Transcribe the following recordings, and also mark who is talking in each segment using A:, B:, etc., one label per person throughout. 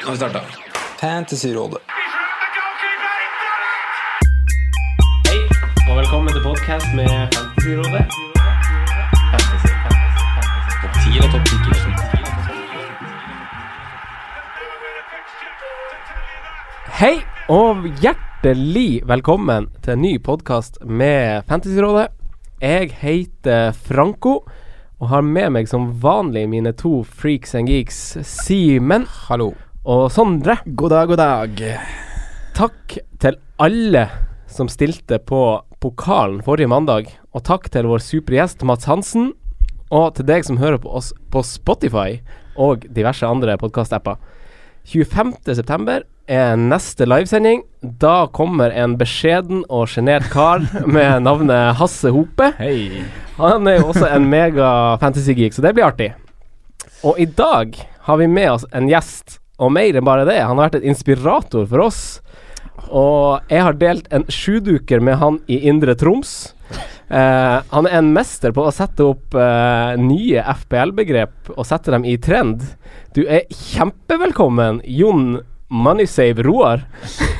A: Nå har vi starta.
B: Fantasyrådet.
C: Hei, og velkommen til podcast med Fantasyrådet. Topp 10 og topp 10. Hei, og hjertelig velkommen til en ny podcast med Fantasyrådet. Jeg heter Franco, og har med meg som vanlig mine to freaks and geeks, Simen
B: Hallo.
C: og Sondre.
B: God dag, god dag.
C: Takk til alle som stilte på pokalen forrige mandag, og takk til vår supergjest Mats Hansen, og til deg som hører på oss på Spotify og diverse andre podkast-apper. 25.9 er neste livesending. Da kommer en beskjeden og sjenert kar med navnet Hasse Hope.
B: Hei.
C: Han er jo også en mega fantasy-geek, så det blir artig. Og i dag har vi med oss en gjest, og mer enn bare det. Han har vært en inspirator for oss. Og jeg har delt en sjuduker med han i Indre Troms. Eh, han er en mester på å sette opp eh, nye FPL-begrep og sette dem i trend. Du er kjempevelkommen, Jon Moneysave Roar.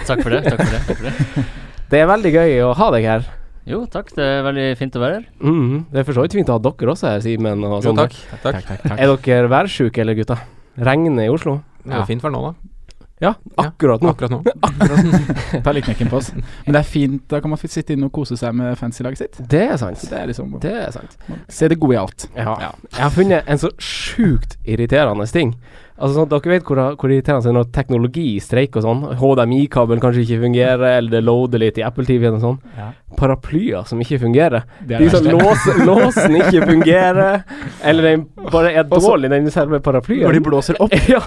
D: Takk for det. takk for det, takk for det.
C: Det er veldig gøy å ha deg her.
D: Jo, takk. Det er veldig fint å være her.
C: Mhm. det er for så vidt fint å ha dere også her, Simen og
A: Jo,
C: Sondre.
A: Altså, takk. takk.
C: Er dere værsjuke, eller gutta? Regner i Oslo?
A: Det går fint for nå, da.
C: Ja, akkurat nå.
A: Akkurat nå.
E: Ta litt knekken på oss. Men det er fint. Da kan man f- sitte inne og kose seg med fancy-laget sitt.
C: Det er sant.
E: Så det er liksom
C: Det er sant.
E: Se det gode i alt.
C: Ja. Jeg har funnet en så sjukt irriterende ting. Altså sånn, Dere vet hvor, hvor irriterende det er når teknologi streiker og sånn. HDMI-kabelen kanskje ikke fungerer, eller det loader litt i Apple TV-en og sånn. Paraplyer som ikke fungerer.
E: Det er
C: De
E: det
C: som
E: verste.
C: lås, låsen ikke fungerer, eller den bare er
E: Og så-
C: dårlig, den selve paraplyen.
E: Når de blåser opp.
C: Ja.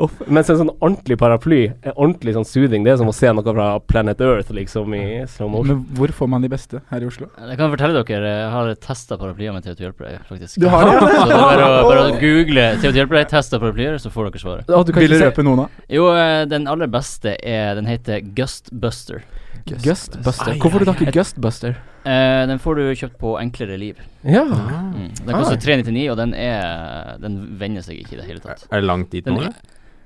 C: Uff. Mens en sånn ordentlig paraply, en ordentlig sånn soothing, det er som å se noe fra Planet Earth, liksom, i slow motion.
E: Men hvor får man de beste her i Oslo?
D: Jeg kan fortelle dere, jeg har testa paraplyer med Theo til hjelper deg, faktisk.
E: Du har det?
D: Så det er bare, å- bare å google Theo til hjelper deg, testa paraplyer, så får dere svaret.
C: Å, du kan
E: Vil du
C: ikke
E: røpe noen, da?
D: Jo, eh, den aller beste er Den heter Gustbuster.
C: se Gustbuster. Hvorfor har du ikke Gustbuster?
D: Eh, den får du kjøpt på Enklere liv.
C: Ja.
D: Mm. Den
E: Ah.
D: koster 399, og den er Den vender seg ikke i det hele tatt.
A: Er det langt dit nå?
D: Den-
A: eller?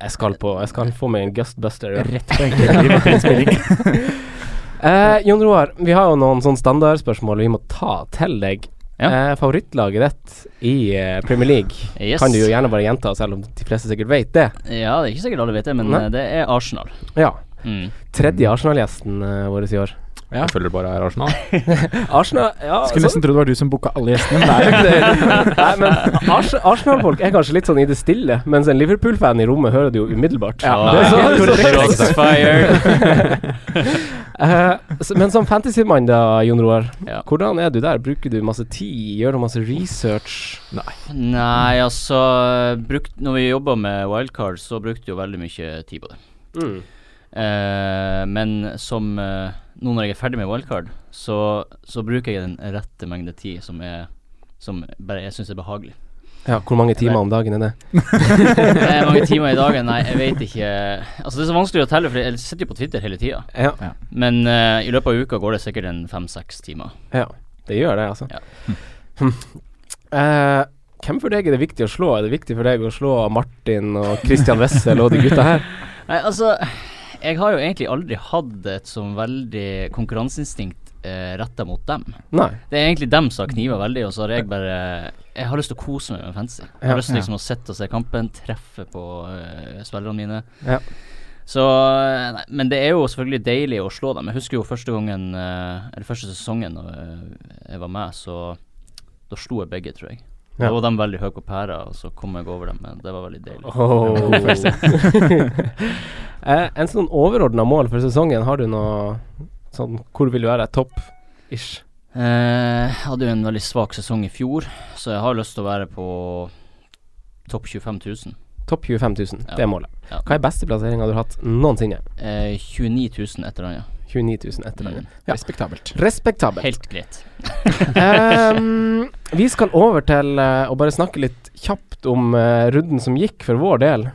C: Jeg skal på Jeg skal få meg en Gustbuster. Ja.
E: Rett på enkeltlivet.
C: Eh, Jon Roar, vi har jo noen sånne standardspørsmål vi må ta til deg.
D: Ja.
C: Eh, favorittlaget ditt i eh, Premier League
D: Yes.
C: kan du jo gjerne bare gjenta, selv om de fleste sikkert vet det.
D: Ja, det er ikke sikkert alle vet det, men
C: Nei.
D: eh, det er Arsenal.
C: Ja.
D: Mm.
C: Tredje Arsenal-gjesten eh, vår i år.
A: Jeg føler det bare er Arsenal.
C: Arsenal ja, sånn-
E: Skulle nesten tro det var du som booka alle gjestene. Men det er jo ikke det.
C: Nei, men Ars Arsenal-folk er kanskje litt sånn i det stille, mens en Liverpool-fan i rommet hører det jo umiddelbart.
D: Ah,
C: det er så-
D: helt
C: så-
D: korrekt. Shots fired.
C: Eh, s- men som fantasymann, da, Jon Roar.
D: Ja.
C: Hvordan er du der? Bruker du masse tid? Gjør du masse research?
D: Nei, altså brukt, Når vi jobba med wildcard, så brukte vi jo veldig mye tid på det.
C: Mm.
D: Eh, men som eh, nå når jeg er ferdig med wildcard, så, så bruker jeg den rette mengde tid som, er, som bare jeg syns er behagelig.
C: Ja, hvor mange timer om dagen er det?
D: Det er mange timer i dagen, nei, jeg vet ikke Altså, det er så vanskelig å telle, for jeg sitter jo på Twitter hele tida.
C: Ja,
D: Men eh, i løpet av uka går det sikkert en fem-seks timer.
C: ja det gjør det, altså.
D: Ja.
C: Hm. Eh, hvem for deg er det viktig å slå? Er det viktig for deg å slå Martin og Christian Wessel og de gutta her?
D: Nei, altså Jeg har jo egentlig aldri hatt et sånn veldig konkurranseinstinkt uh, retta mot dem.
C: Nei.
D: Det er egentlig dem som har kniva veldig, og så har jeg bare Jeg har lyst til å kose meg med fancy. Jeg har
C: Ja,
D: lyst til liksom å sitte og se kampen, treffe på uh, spillerne mine.
C: Ja.
D: Så eh, nei, Men det er jo selvfølgelig deilig å slå dem. Jeg husker jo første gangen eh, Eller første sesongen da eh, jeg var med, så Da slo jeg begge, tror jeg.
C: Ja.
D: Da var de veldig høye på pæra, og så kom jeg over dem. Men det var veldig deilig.
C: Oh. eh, en sånn overordna mål for sesongen, har du noe sånn Hvor vil du være? Topp? Ish.
D: Eh, Jeg hadde jo en veldig svak sesong i fjor, så jeg har lyst til å være på topp 25 000.
C: Topp 25 000,
D: Ja.
C: det er målet.
D: Ja.
C: Hva er beste plasseringa du har hatt noensinne?
D: Eh, 29 000 et eller annet.
C: 29 000 etter den.
E: Respektabelt.
C: Respektabelt.
D: Mm. Helt greit.
C: Ehm, vi skal over til eh, å bare snakke litt kjapt om eh, runden som gikk for vår del.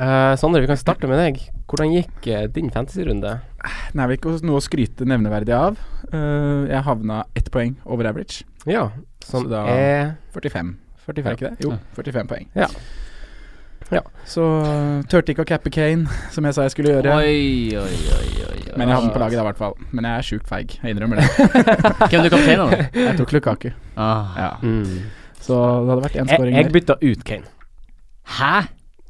C: Eh, Sondre, vi kan starte med deg. Hvordan gikk eh, din fantasy-runde?
E: Det er vel ikke noe å skryte nevneverdig av. Eh, jeg havna ett poeng over average.
C: Ja, som
E: Så da-
C: er
E: 45. Er
C: 45.
E: det ikke det? Jo, 45 poeng.
C: Ja. Ja.
E: Så eh, turte ikke å cappe Kane, som jeg sa jeg skulle gjøre.
D: Oi, oi, oi, oi. oi.
E: Men jeg havnet på laget da, i hvert fall. Men jeg er sjukt feig. Jeg innrømmer det.
D: Hvem er du kaptein av, da?
E: Jeg tok Lukaku.
D: Ah.
E: Ja. Så det hadde vært én
C: Jeg,
E: skåring
C: mm. jeg
E: der.
C: bytta ut Kane.
D: Hæ?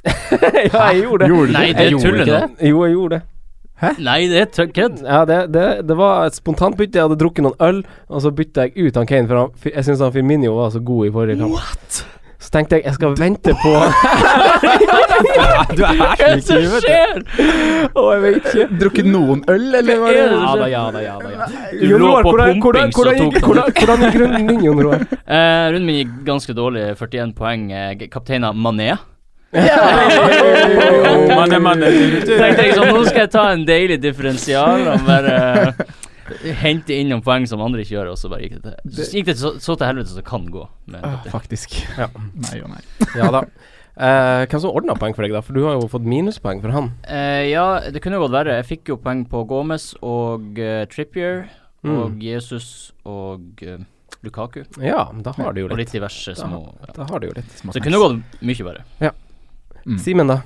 C: ja, jeg gjorde det.
E: Gjorde du
D: Nei,
E: det?
D: det
E: Jeg
D: er
E: gjorde
D: tullet
E: ikke
D: nå.
E: det.
C: Jo, jeg gjorde det.
D: Nei, det er tø- kødd.
C: Ja, det, det, det var et spontant bytte. Jeg hadde drukket noen øl, og så bytta jeg ut han Kane, for han, jeg syntes han Firmino var så god i forrige kamp. Så tenkte jeg jeg skal vente på
E: Du er
D: Hva er det som skjer?
C: Å, jeg vet ikke.
E: Drukket noen øl, eller hva
D: Hva
E: det?
D: er
C: Ja
D: det som
C: da,
D: skjer?
C: ja da, ja da. Ja.
D: Du
C: Jon
D: lå
C: Roar,
D: på
C: hvordan, hvordan,
D: pumping, så
C: hvordan,
D: tok
C: gikk-
D: den.
C: hvordan, hvordan gikk runden din, Jon Roar?
D: Eh, runden min gikk ganske dårlig. 41 poeng. Eh, g- Kaptein av Mané. Tenkte jeg sånn, Nå skal jeg ta en deilig differensial og bare eh, hente inn noen poeng som andre ikke gjør, og så bare gikk det til Så gikk det så, så til helvete som det kan gå. Med
E: Ah,
D: kaptein.
E: faktisk.
C: Ja.
E: Nei og nei.
D: sånn.
C: Ja da. Eh, hvem som ordna poeng for deg, da? For du har jo fått minuspoeng for han.
D: Eh, ja, det kunne jo gått verre. Jeg fikk jo poeng på Gomez og eh, Trippier og Jesus og eh, Lukaku.
C: Ja, da har du jo
D: Og
C: litt.
D: litt diverse små ja.
C: Da har du jo litt.
D: Så det kunne gått mye verre.
C: Simen, da?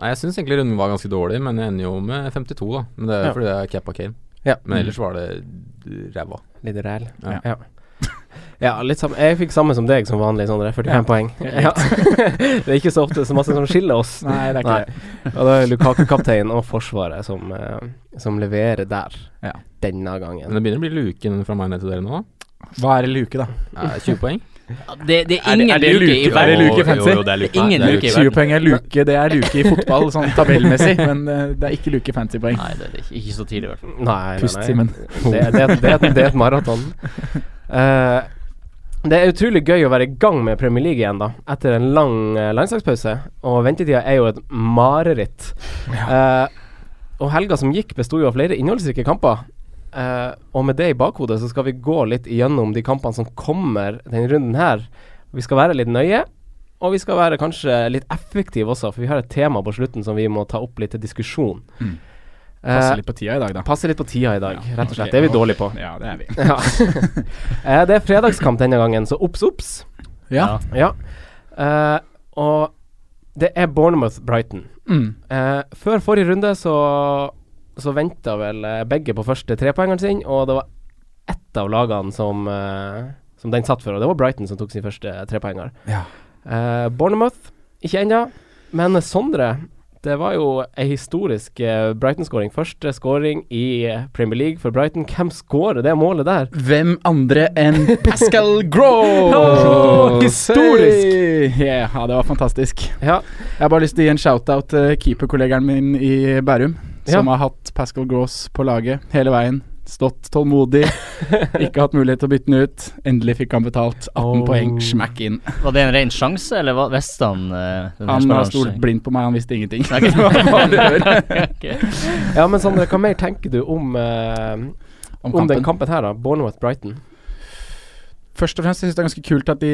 A: Nei, jeg syns egentlig runden var ganske dårlig, men jeg ender jo med 52, da. Men det er
C: Ja.
A: fordi det er cappa Kane.
C: Ja.
A: Men ellers var det ræva.
C: Litt ræl.
A: Ja.
C: Ja. ja, litt samme. Jeg fikk samme som deg som vanlig, Sondre. 45 poeng. Ja. det er ikke så ofte så masse som skiller oss.
E: Nei, det er ikke
C: Nei. Og da er Lukaku-kapteinen og Forsvaret som, eh, som leverer der.
E: Ja.
C: Denne
A: Men
C: gangen.
A: det begynner å bli luken fra meg ned til dere nå, da.
E: det. Hva er en luke, da?
A: Er det 20 poeng?
D: Ja, Det, det er ingen luke i
E: Er det
D: verden.
E: luke fancy?
A: det er
D: Ingen
A: Nei, det er
D: luke i verden.
E: 20 poeng er luke, det er luke i fotball, sånn tabellmessig. Men eh, det er ikke luke fancy poeng.
D: Nei, det er det ikke. Ikke så tidlig, i hvert fall.
C: Nei,
E: Pust,
C: nei, nei.
E: Simen.
C: Det, det, er- det, er et- det er et maraton. Eh, det er utrolig gøy å være i gang med Premier League igjen, da. Etter en lang eh, landslagspause. Og ventetida er jo et mareritt. Eh, og helga som gikk, besto jo av flere innholdsrike kamper. Eh, og med det i bakhodet så skal vi gå litt gjennom de kampene som kommer denne runden her. Vi skal være litt nøye, og vi skal være kanskje litt effektive også, for vi har et tema på slutten som vi må ta opp litt til diskusjon.
E: Mm.
C: Eh,
E: Passer litt på tida i dag, da.
C: Passer litt på tida i dag,
E: Ja,
C: rett og slett.
E: ok.
C: Det er vi dårlige på.
E: Ja, det er vi.
C: Ja. Eh, det er fredagskamp denne gangen, så obs, obs.
E: Ja.
D: Ja.
C: Ja. Eh, og det er Bournemouth-Brighton.
E: Mm.
C: Eh, før forrige runde så, så venta vel eh, begge på første trepoengeren sin, og det var ett av lagene som, eh, som den satt for, og det var Brighton som tok sin første trepoenger.
E: Ja.
C: Eh, Bournemouth, ikke ennå, men eh, Sondre det var jo ei historisk eh, Brighton-skåring. Første skåring i eh, Premier League for Brighton. Hvem skårer det målet der?
E: Hvem andre enn Pascal
C: Åh,
E: Gross?
C: historisk!
E: Hey! Yeah, ja, det var fantastisk.
C: Ja,
E: Jeg har bare lyst til å gi en shout-out til keeperkollegaen min i Bærum,
C: Ja.
E: som har hatt Pascal Gross på laget hele veien. Stått tålmodig, ikke hatt mulighet til å bytte den ut. Endelig fikk han betalt. 18
C: Oh.
E: poeng, smakk inn.
D: Var det en ren sjanse, eller hva- visste han eh, den her
E: Han
D: spilleren
E: har stolt
D: seg?
E: blind på meg, han visste ingenting.
D: Nei, ok.
E: Hva var det du gjør?
D: Ok.
C: ja men Sondre, hva mer tenker du om, eh,
E: Om
C: om den
E: kampen.
C: kampen her, da? Bournemouth-Brighton.
E: Først og fremst syns jeg det er ganske kult at de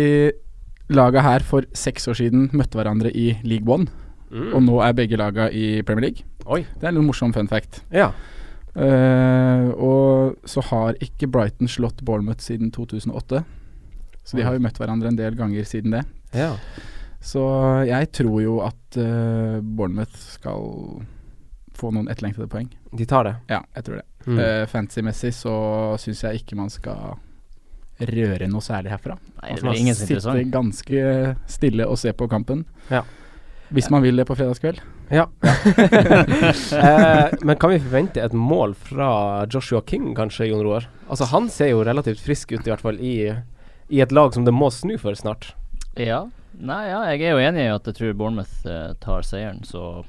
E: laga her for seks år siden møtte hverandre i League One, og
C: Mm.
E: nå er begge laga i Premier League.
C: Oi.
E: Det er en litt morsom fun fact.
C: Ja.
E: Eh, og så har ikke Brighton slått Bournemouth siden 2008. Så de har jo møtt hverandre en del ganger siden det.
C: ja.
E: Så jeg tror jo at eh, Bournemouth skal få noen etterlengtede poeng.
C: De tar det.
E: Ja, jeg tror det.
C: Mm.
E: Eh, Fantasy-messig så syns jeg ikke man skal røre noe særlig herfra.
D: Nei, det er vel ingen som er
E: Sitte
D: interessant.
E: Altså, ganske stille og se på kampen.
C: Ja.
E: Hvis man vil det på fredagskveld.
C: Ja. eh, men kan vi forvente et mål fra Joshua King, kanskje, Jon Roar? Altså, han ser jo relativt frisk ut, i hvert fall i, i et lag som det må snu for snart.
D: Ja. Nei, ja, jeg er jo enig i at jeg tror Bournemouth eh, tar seieren, så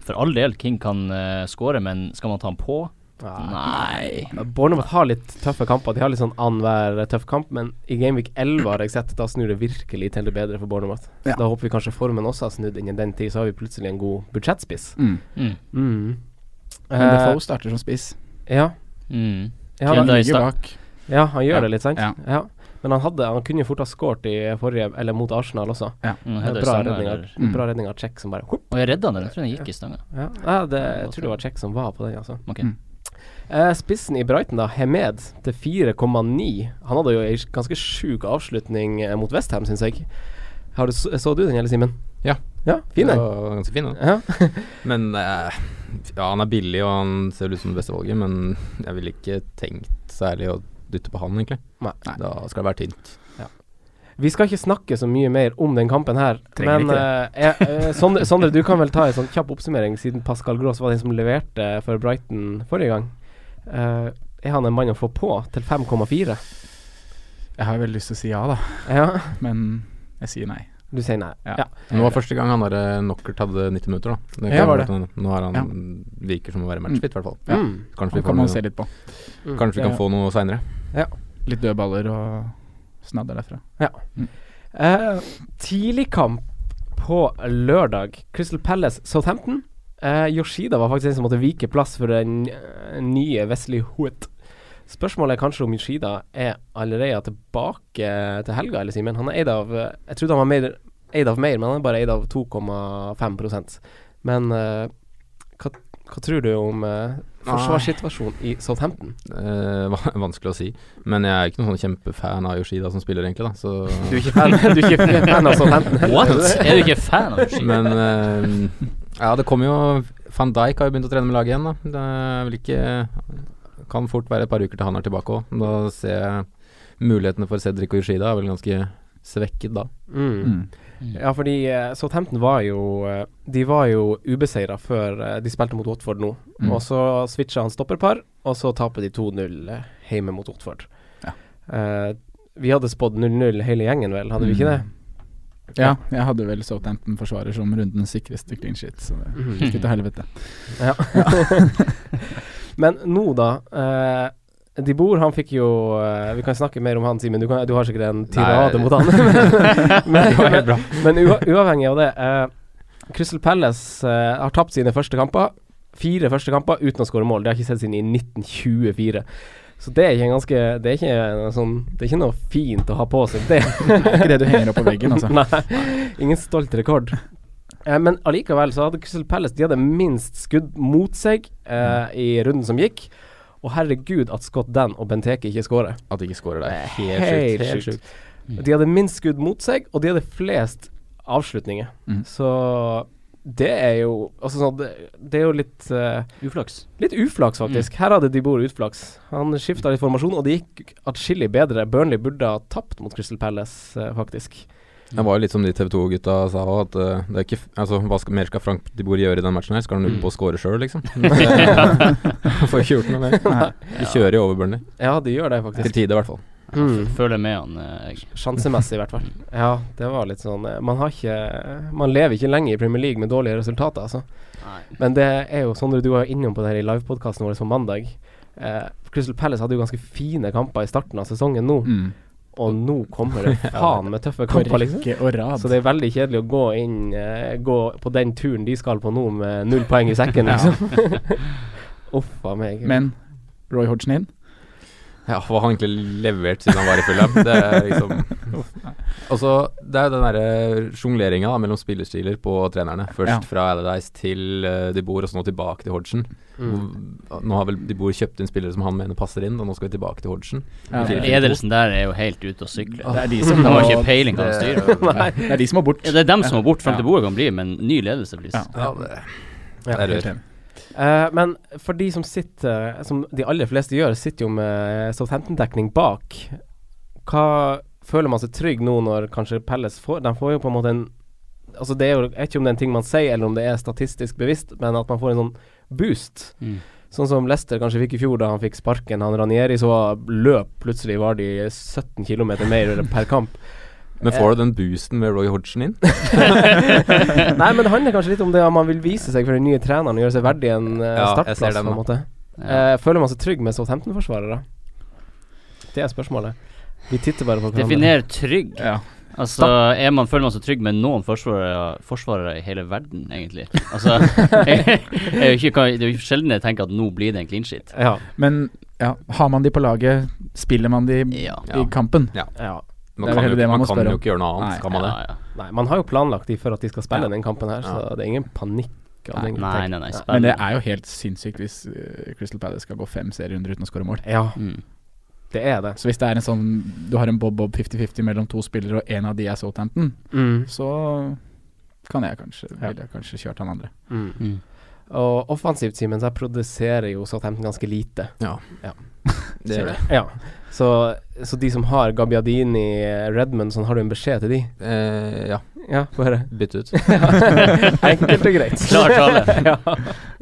D: for all del, King kan uh, skåre, men skal man ta han på? Nei.
C: Ah, Bournemouth har litt tøffe kamper. De har litt sånn annenhver tøff kamp, men i Gameweek 11 har jeg sett da snur det virkelig til det bedre for Bournemouth.
E: Ja.
C: Da håper vi kanskje formen også har snudd innen den tid, så har vi plutselig en god budsjettspiss.
E: Mm.
D: Mm.
C: Mm.
E: Men Defoe starter som spiss.
C: ja.
D: Mm.
C: Ja,
D: King
C: da,
D: er i
E: ligger
D: start.
E: bak.
C: ja, han gjør
E: Ja.
C: det litt, sant?
E: Ja.
C: Men han, hadde, han kunne jo fort ha skåret i forrige, eller mot Arsenal også.
D: Mm,
C: Det er
D: heter
C: Bra
D: det stanga,
C: redning, av,
D: eller?
E: Mm.
C: bra redning av Czech som bare whoop.
D: Og jeg redda han, eller? Jeg tror han gikk i stanga.
C: Ja, Nei, det, jeg tror det var Czech som var på den, altså.
D: Ok.
E: Mm.
C: Eh, spissen i Brighton, da, Hemed til 4,9. Han hadde jo ei ganske sjuk avslutning eh, mot Westham, syns jeg. Har du, så, så du den, eller Simen?
A: Ja.
C: Ja, fin
A: Det
C: en.
A: var Ganske fin, den.
C: Ja.
A: Men eh, ja, han er billig, og han ser vel ut som det beste valget, men jeg ville ikke tenkt særlig å dytte på han, egentlig.
C: Nei.
A: Da skal det være tynt.
C: Vi skal ikke snakke så mye mer om den kampen her,
A: Trenger
C: men eh, jeg- eh, Sondre, Sondre, du kan vel ta en sånn kjapp oppsummering, siden Pascal Gross var den som leverte for Brighton forrige gang. Eh, er han en mann å få på til 5,4?
E: Jeg har veldig lyst til å si ja, da,
C: Ja,
E: men jeg sier nei.
C: du sier nei.
E: Ja.
C: Ja.
A: Nå var første gang han derre Knockert hadde 90 minutter, da. Det
E: Ja,
A: kan
E: var
A: være at han- Nå er han virker som å være matchfit, i hvert fall.
E: Ja.
C: Mm.
A: Kanskje vi
E: Det
A: får
E: kan man
A: noe,
E: se litt på.
A: kanskje vi kan
E: Ja.
A: få noe seinere.
E: Litt døde baller og snadder derfra.
C: Eh, tidlig kamp på lørdag. Crystal Palace Southampton. Eh, Yoshida var faktisk en som måtte vike plass for den eh, nye Wesley Hoet. Spørsmålet er kanskje om Yoshida er allerede tilbake til helga, eller Simen. Han er eid av eh, Jeg trodde han var mer, eid av mer, men han er bare eid av 2,5 Men eh, hva, hva tror du om eh, forsvarssituasjonen i Southampton?
A: Eh, va- vanskelig å si. Men jeg er ikke noen sånn kjempefan av Yoshida som spiller, egentlig. da Så
C: Du er ikke fan, du er ikke fan av Southampton? heller,
D: What?
C: er du det?
D: Er du ikke fan av Yoshida?
A: Men eh, ja, det kommer jo Van Dijk har jo begynt å trene med laget igjen, da. Det er vel ikke Kan fort være et par uker til han er tilbake òg. Da ser jeg mulighetene for Cedric og Yoshida er vel ganske svekket da.
C: Mm.
E: Mm.
C: Ja, fordi eh, Southampton var jo eh, De var jo ubeseira før eh, de spilte mot Watford nå.
E: Mm.
C: Og så switcha han stopperpar, og så taper de 2-0 eh, hjemme mot Watford.
E: Ja.
C: Eh, vi hadde spådd 0-0 hele gjengen, vel? Hadde vi
A: Mm.
C: ikke det?
E: Mm. Ja, jeg hadde vel Southampton-forsvarer som rundens sikreste clean shit, så det gikk jo til helvete.
C: Mhm. Ja. Men nå, da. Eh, de Boer, han fikk jo eh, Vi kan snakke mer om han, Simen. Du, kan- du har sikkert en tirade
A: Nei.
C: mot han. men,
A: Det var helt bra.
C: men ua uavhengig av det. eh, Crystal Palace eh, har tapt sine første kamper. Fire første kamper uten å skåre mål. Det har jeg ikke sett siden i 1924. Så det er ikke en ganske Det er ikke, en sånn, det er ikke noe fint å ha på seg, det.
E: Det er ikke det du henger opp på veggen, altså.
C: Nei, ingen stolt rekord. Eh, men allikevel så hadde Crystal Palace De hadde minst skudd mot seg eh, i runden som gikk. Og herregud at Scott Dan og Benteke ikke skårer.
A: At de ikke scorer der.
C: Helt sjukt. De hadde minst skudd mot seg, og de hadde flest avslutninger.
E: Mm.
C: Så det er jo Altså sånn Det, det er jo litt eh,
D: Uflaks.
C: Litt uflaks, faktisk. Her hadde de Boer utflaks. Han skifta litt formasjon, og det gikk atskillig bedre. Burnley burde ha tapt mot Crystal Palace, eh, faktisk.
A: Det var jo litt som de TV 2-gutta sa òg, at eh, det er ikke f Altså, hva skal, mer skal Frank de Boer gjøre i den matchen her? Skal han ut på å score sjøl, liksom? Det- Får ikke gjort noe mer. De kjører jo over Burnley.
C: Ja, de gjør det,
A: Til
C: faktisk.
A: tide, i hvert fall.
C: Mm.
D: Føler med han, eh, jeg.
C: Sjansemessig, i hvert fall. Ja, det var litt sånn eh, Man har ikke Man lever ikke lenge i Premier League med dårlige resultater, altså. Men det er jo Sondre, du var jo innom på det her i livepodkasten vår på mandag. Eh, Crystal Palace hadde jo ganske fine kamper i starten av sesongen nå,
E: Mm.
C: og nå kommer det faen med tøffe
E: På
C: kamper, liksom.
E: rekke og rad.
C: Så det er veldig kjedelig å gå inn eh, Gå på den turen de skal på nå med null poeng i sekken,
E: Ja.
C: liksom. Uff a meg.
E: Men Roy Hodgson inn?
A: Ja, hva har han egentlig levert siden han var i Fulham? Det er liksom Og så Det er jo den derre sjongleringa da, mellom spillerstiler på trenerne. Først
E: Ja.
A: fra Allardyce til uh, De Boer, og så nå tilbake til Hodgson.
C: Mm.
A: Nå har vel De Boer kjøpt inn spillere som han mener passer inn, og nå skal vi tilbake til Hodgson.
E: Ja, det, er,
D: Ledelsen der er jo helt ute å sykle.
E: det er de som
D: De
E: må,
D: har ikke peiling hva de styrer.
E: det er de som må bort.
D: Ja, det er dem som må bort frem til
E: Ja.
D: bordet kan bli, men ny ledelse blir
E: Ja.
A: Ja, det,
C: Ja.
A: det er
E: Helt
A: rør.
E: enig.
C: Eh, men for de som sitter, eh, som de aller fleste gjør, sitter jo med Southampton-dekning bak. Hva føler man seg trygg nå når kanskje Pelles får De får jo på en måte en Altså det er jo jeg vet ikke om det er en ting man sier, eller om det er statistisk bevisst, men at man får en sånn boost.
D: Mm.
C: Sånn som Lester kanskje fikk i fjor da han fikk sparken. Han Ranieri så løp plutselig var de 17 km mer per kamp.
A: Men får du den boosten med Roy Hodgson inn?
C: Nei, men det handler kanskje litt om det om man vil vise seg for den nye treneren og gjøre seg verdig en eh,
A: Ja, jeg ser
C: startplass,
A: den,
C: på en måte.
D: Ja.
C: Eh, føler man seg trygg med Southampton-forsvarere? Det er spørsmålet. Vi titter bare på hverandre.
D: Definer trygg.
E: Ja.
D: Altså, er man, føler man seg trygg med noen forsvarere, forsvarere i hele verden, egentlig? Altså, jeg, jeg, er jo ikke, det er jo sjelden jeg tenker at nå blir det en clean shit.
C: Ja,
E: Men ja, har man de på laget, spiller man de
D: Ja.
E: i kampen?
C: ja.
A: Man
E: Det er
A: kan,
E: vel
A: jo,
E: heller det
A: ikke-
E: man
A: man
E: må
A: kan
E: spørre
A: jo
E: om.
A: ikke gjøre noe
E: Nei.
A: annet, kan man det?
D: Ja, ja.
C: Nei, man har jo planlagt de for at de skal spille
E: Ja.
C: den kampen her, så det er ingen panikk. av
E: Nei,
C: den
D: Nei, nei, nei.
C: tenk-
E: Men det
D: Spennende.
E: er jo helt sinnssykt hvis eh, Crystal Palace skal gå fem serierunder uten å skåre mål.
C: Ja,
D: Mm.
C: det er det.
E: Så hvis det er en sånn du har en bob-bob 50-50 mellom to spillere, og en av de er Southampton,
C: Mm.
E: så kan jeg kanskje,
C: Ja.
E: ville jeg kanskje kjørt han andre.
D: Mm.
C: Og offensivt, Simen, så jeg produserer jo Southampton ganske lite.
A: Det gjør det.
C: Ja. Så, så de som har Gabbiadini, Redmond, sånn, har du en beskjed til de?
A: Eh, ja,
C: Ja, bare
A: bytte ut.
C: Enkelt og greit.
D: Klar tale.
C: ja.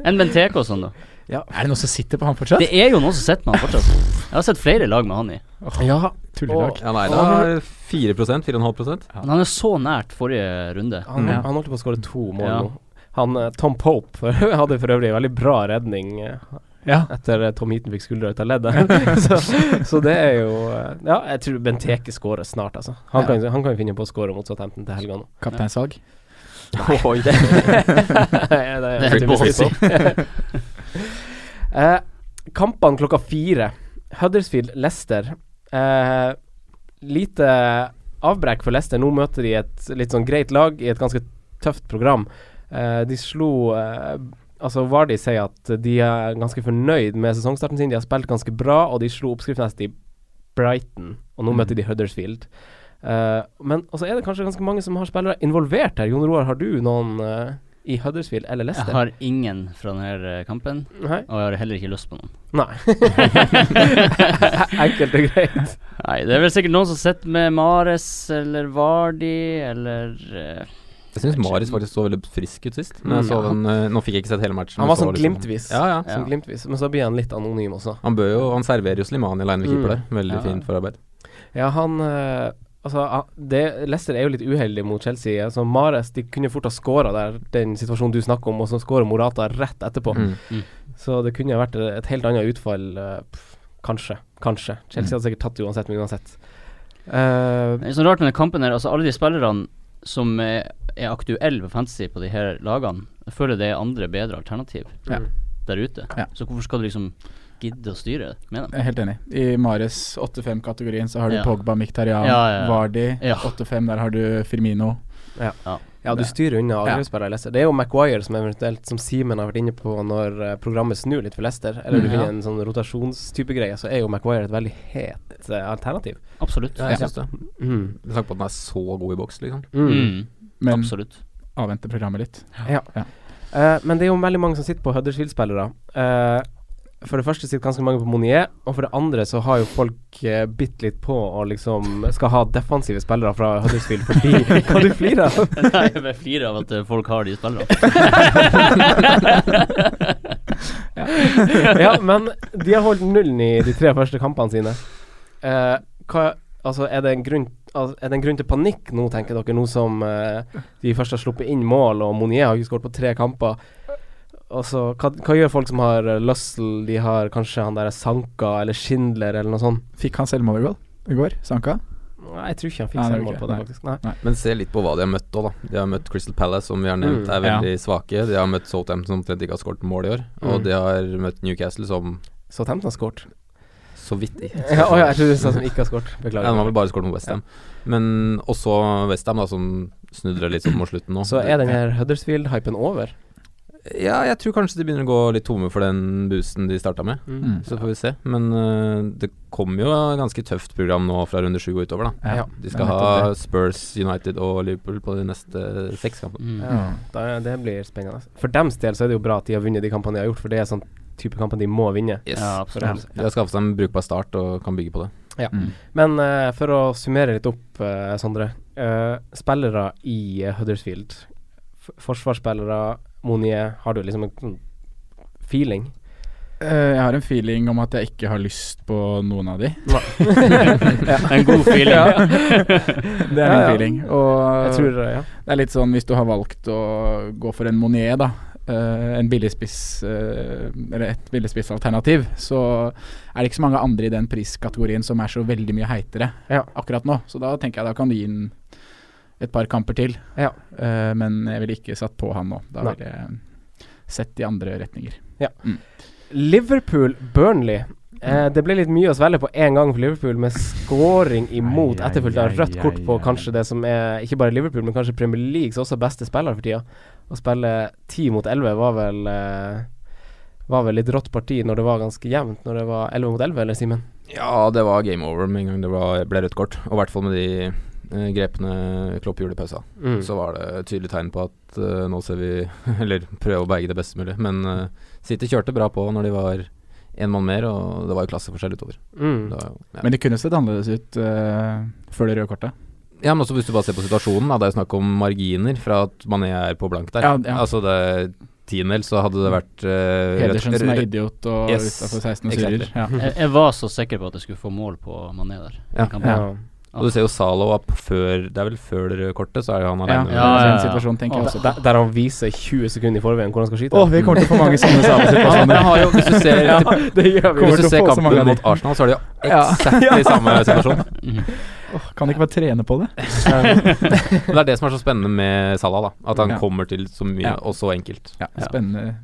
D: Enn Benteke og sånn, da.
E: Er det noen som sitter på han fortsatt?
D: Det er jo noen som sitter med han fortsatt. Jeg har sett flere lag med han i.
C: ja,
E: Tullelag.
A: Ja, nei, det er 4 4,5
D: Men han er så nært forrige runde.
C: han,
E: Ja.
C: han holdt på å skåre to mål
D: Ja.
C: nå. Han, eh, Tom Pope for- hadde for øvrig en veldig bra redning eh,
E: Ja.
C: etter eh, Tom Heaton fikk skuldra ut av leddet. så, så det er jo eh, Ja, jeg tror Benteke skårer snart, altså. Han,
E: Ja.
C: kan, han kan jo finne på å skåre mot Southampton til helga nå.
E: Kapteinsvalg.
A: Oi,
C: det, det er
D: Det er
C: tydeligvis ikke. Eh, Kampene klokka fire. Huddersfield-Lester. lite avbrekk for Lester. Nå møter de et litt sånn greit lag i et ganske tøft program. Eh, de slo eh, Altså Vardy sier at de er ganske fornøyd med sesongstarten sin. De har spilt ganske bra, og de slo oppskriftsnest i Brighton. Og
D: Mm.
C: nå møter de Huddersfield. Eh, men også er det kanskje ganske mange som har spillere involvert her. Jon Roar, har du noen eh, i Huddersfield eller
D: Jeg
C: Leicester?
D: har ingen fra denne eh, kampen,
C: Nei.
D: og jeg har heller ikke lyst på noen.
C: Nei. Enkelt og greit.
D: Nei, det er vel sikkert noen som sitter med Mares eller Vardi eller eh,
A: Jeg syns Marius faktisk så veldig frisk ut sist. Når jeg så
C: Mm.
A: den, eh, nå fikk jeg ikke sett hele matchen. men
C: Han var
A: så
C: sånn
A: liksom-
C: glimtvis.
A: Ja, ja.
D: Ja.
C: Sånn glimtvis. Men så blir han litt anonym også.
A: Han, bør jo, han serverer jo Slimani aleine ved
C: Mm.
A: keeper der. Veldig
D: Ja.
A: fint forarbeid.
C: Ja, han eh, Altså, han- det, Leicester er jo litt uheldig mot Chelsea. Altså, Mares de kunne fort ha skåra der, den situasjonen du snakker om, og så skårer Morata rett etterpå.
A: Mm.
C: Så det kunne ha vært et helt annet utfall. eh, pff, kanskje. Kanskje. Chelsea hadde sikkert tatt det uansett, men uansett. Eh,
D: Det er så rart med den kampen her. Altså, alle de spillerne som er, er aktuelle på fantasy på de her lagene, jeg føler det er andre bedre alternativ
E: Ja.
D: der ute.
E: Ja.
D: Så hvorfor skal du liksom gidde å styre med dem?
E: Jeg er helt enig. I Mares 8-5-kategorien så har du
D: Ja.
E: Pogba,
D: Ja,
E: Mkhitaryan,
D: ja, ja.
E: Vardy.
D: Ja.
E: 8-5, der har du Firmino.
C: ja, du
E: det-
C: styrer unna
E: Ja.
C: angrepsspillere i Leicester. Det er jo Maguire som eventuelt, som Simen har vært inne på når eh, programmet snur litt for Leicester, eller du
E: Mm.
C: finner
E: Ja.
C: en sånn rotasjonstype greie, så er jo Maguire et veldig het eh, alternativ.
D: Absolutt.
A: Ja, jeg syns det.
C: Mm.
A: Med tanke på at den er så god i boks, liksom.
C: Mm.
D: Mm,
E: Men
D: absolutt.
E: avvente programmet litt.
C: Eh, men det er jo veldig mange som sitter på Huddersfield-spillere. Eh, for det første sitter ganske mange på Monier, og for det andre så har jo folk uh, bitt litt på og liksom skal ha defensive spillere fra Huddersfield fordi Hva du flirer av?
D: Nei, jeg bare flirer av at eh, folk har de spillerne.
C: ja, men de har holdt nullen i de tre første kampene sine. Eh, hva, altså, er, det en grunn, altså, er det en grunn til panikk nå, tenker dere, nå som eh, de først har sluppet inn mål, og Monier har ikke skåret på tre kamper? Altså, hva, hva gjør folk som har eh, Lussell, de har kanskje han der Sanka eller Schindler eller noe sånt?
E: Fikk han selvmål i går? I går? Sanka?
C: Nei, jeg tror ikke han
E: Nei,
C: fikk
E: det er
C: selvmål
E: ok,
C: på det,
E: nei.
C: faktisk. Nei.
A: Men se litt på hva de har møtt òg, da. De har møtt Crystal Palace, som vi har nevnt
C: Mm,
A: er
E: ja.
A: veldig svake. De har møtt Southampton, som omtrent ikke har skåret mål i år.
C: Mm.
A: Og de har møtt Newcastle, som
C: Så Tempton har skåret.
A: så vidt de
C: Ja, å ja, jeg tror du sa som ikke har skåret.
A: Ja, de har
C: Beklager.
A: vel bare skåret mot Westham. Men også Westham, da, som snudde det litt sånn mot slutten nå.
C: Så er den her Huddersfield-hypen over?
A: Ja, jeg tror kanskje de begynner å gå litt tomme for den boosten de starta med.
E: Mm.
A: Så får vi se. Men øh, det kommer jo et ganske tøft program nå fra runde sju og utover, da.
C: Ja.
A: De skal
E: det er
A: ha
E: nettopp
A: Spurs, United og Liverpool på de neste seks kampene.
D: Mm.
C: Ja, da, det blir spennende. For dems del så er det jo bra at de har vunnet de kampene de har gjort, for det er sånn type kamper de må vinne.
A: Yes.
D: Ja,
C: For dem.
D: absolutt.
A: De har skaffet seg en brukbar start og kan bygge på det.
E: Mm.
C: Men eh, for å summere litt opp, eh, Sondre. eh, spillere i eh, Huddersfield. F forsvarsspillere, Monier. Har du liksom en sånn feeling?
E: Eh, jeg har en feeling om at jeg ikke har lyst på noen av de.
D: En god feeling.
E: Det er
C: Ja,
E: min
C: ja.
E: feeling. Og
C: Jeg tror eh, ja.
E: Det er litt sånn hvis du har valgt å gå for en Monier, da. eh, en billigspiss eh, Eller et billigspissalternativ. Så er det ikke så mange andre i den priskategorien som er så veldig mye heitere
C: Ja.
E: akkurat nå. Så da tenker jeg da kan du gi den et par kamper til.
C: Ja.
E: Eh, men jeg ville ikke satt på han nå. Da
C: Nei.
E: ville jeg sett i andre retninger.
C: Liverpool-Burnley. Eh, det ble litt mye å svelge på én gang for Liverpool, med scoring imot
E: Ai, ai,
C: etterfulgt av
E: ai,
C: rødt kort
E: ai,
C: på
E: ai.
C: kanskje det som er ikke bare Liverpool, men kanskje Premier Leagues også beste spiller for tida. Å spille ti mot elleve var vel eh, var vel litt rått parti når det var ganske jevnt, når det var elleve mot elleve, eller Simen?
A: Ja, det var game over med en gang det var, ble rødt kort. Og i hvert fall med de eh, grepene Klopp gjorde i pausa,
C: Mm.
A: så var det tydelige tegn på at eh, nå ser vi Eller prøver å berge det best mulig. Men eh, City kjørte bra på når de var én mann mer, og det var jo klasseforskjell utover. Det
C: Mm.
A: var jo, ja.
E: Men det kunne sett annerledes ut eh, før det røde kortet.
A: ja, men også hvis du bare ser på situasjonen, da. Det er jo snakk om marginer fra at Mané er på blank der.
E: Ja, ja.
A: Altså det er tiendedel, så hadde det vært eh,
E: Pedersen
A: rødt-
E: som er
A: rødt-
E: idiot og
A: Yes,
E: utenfor 16 og
A: exactly.
E: surrer. Ja.
D: Jeg, jeg var så sikker på at jeg skulle få mål på Mané der.
A: Ja.
D: Kampen.
C: Ja.
A: Og du ser jo Zalo opp før Det er vel før det røde kortet, så er jo han
E: Ja,
A: aleine.
E: ja,
D: Ja, ja, ja.
E: Situasjon, tenker jeg også.
C: Der, der han viser 20 sekunder i forveien hvor han skal skyte.
E: Å, vi kommer til å få mange sånne samme
A: men
E: situasjoner.
A: han har jo, hvis du ser,
C: ja, det gjør vi.
E: Kommer
A: hvis
E: til
A: du
E: å
A: ser
E: få så
A: kampen
E: mange av de.
A: mot Arsenal, så er det jo
C: Ja.
A: eksakt i samme situasjon.
D: Mm.
E: Kan de ikke bare trene på det?
A: Men det er det som er så spennende med Salah, da. At han
E: Ja.
A: kommer til så mye,
E: Ja.
A: og så enkelt.
E: Ja, spennende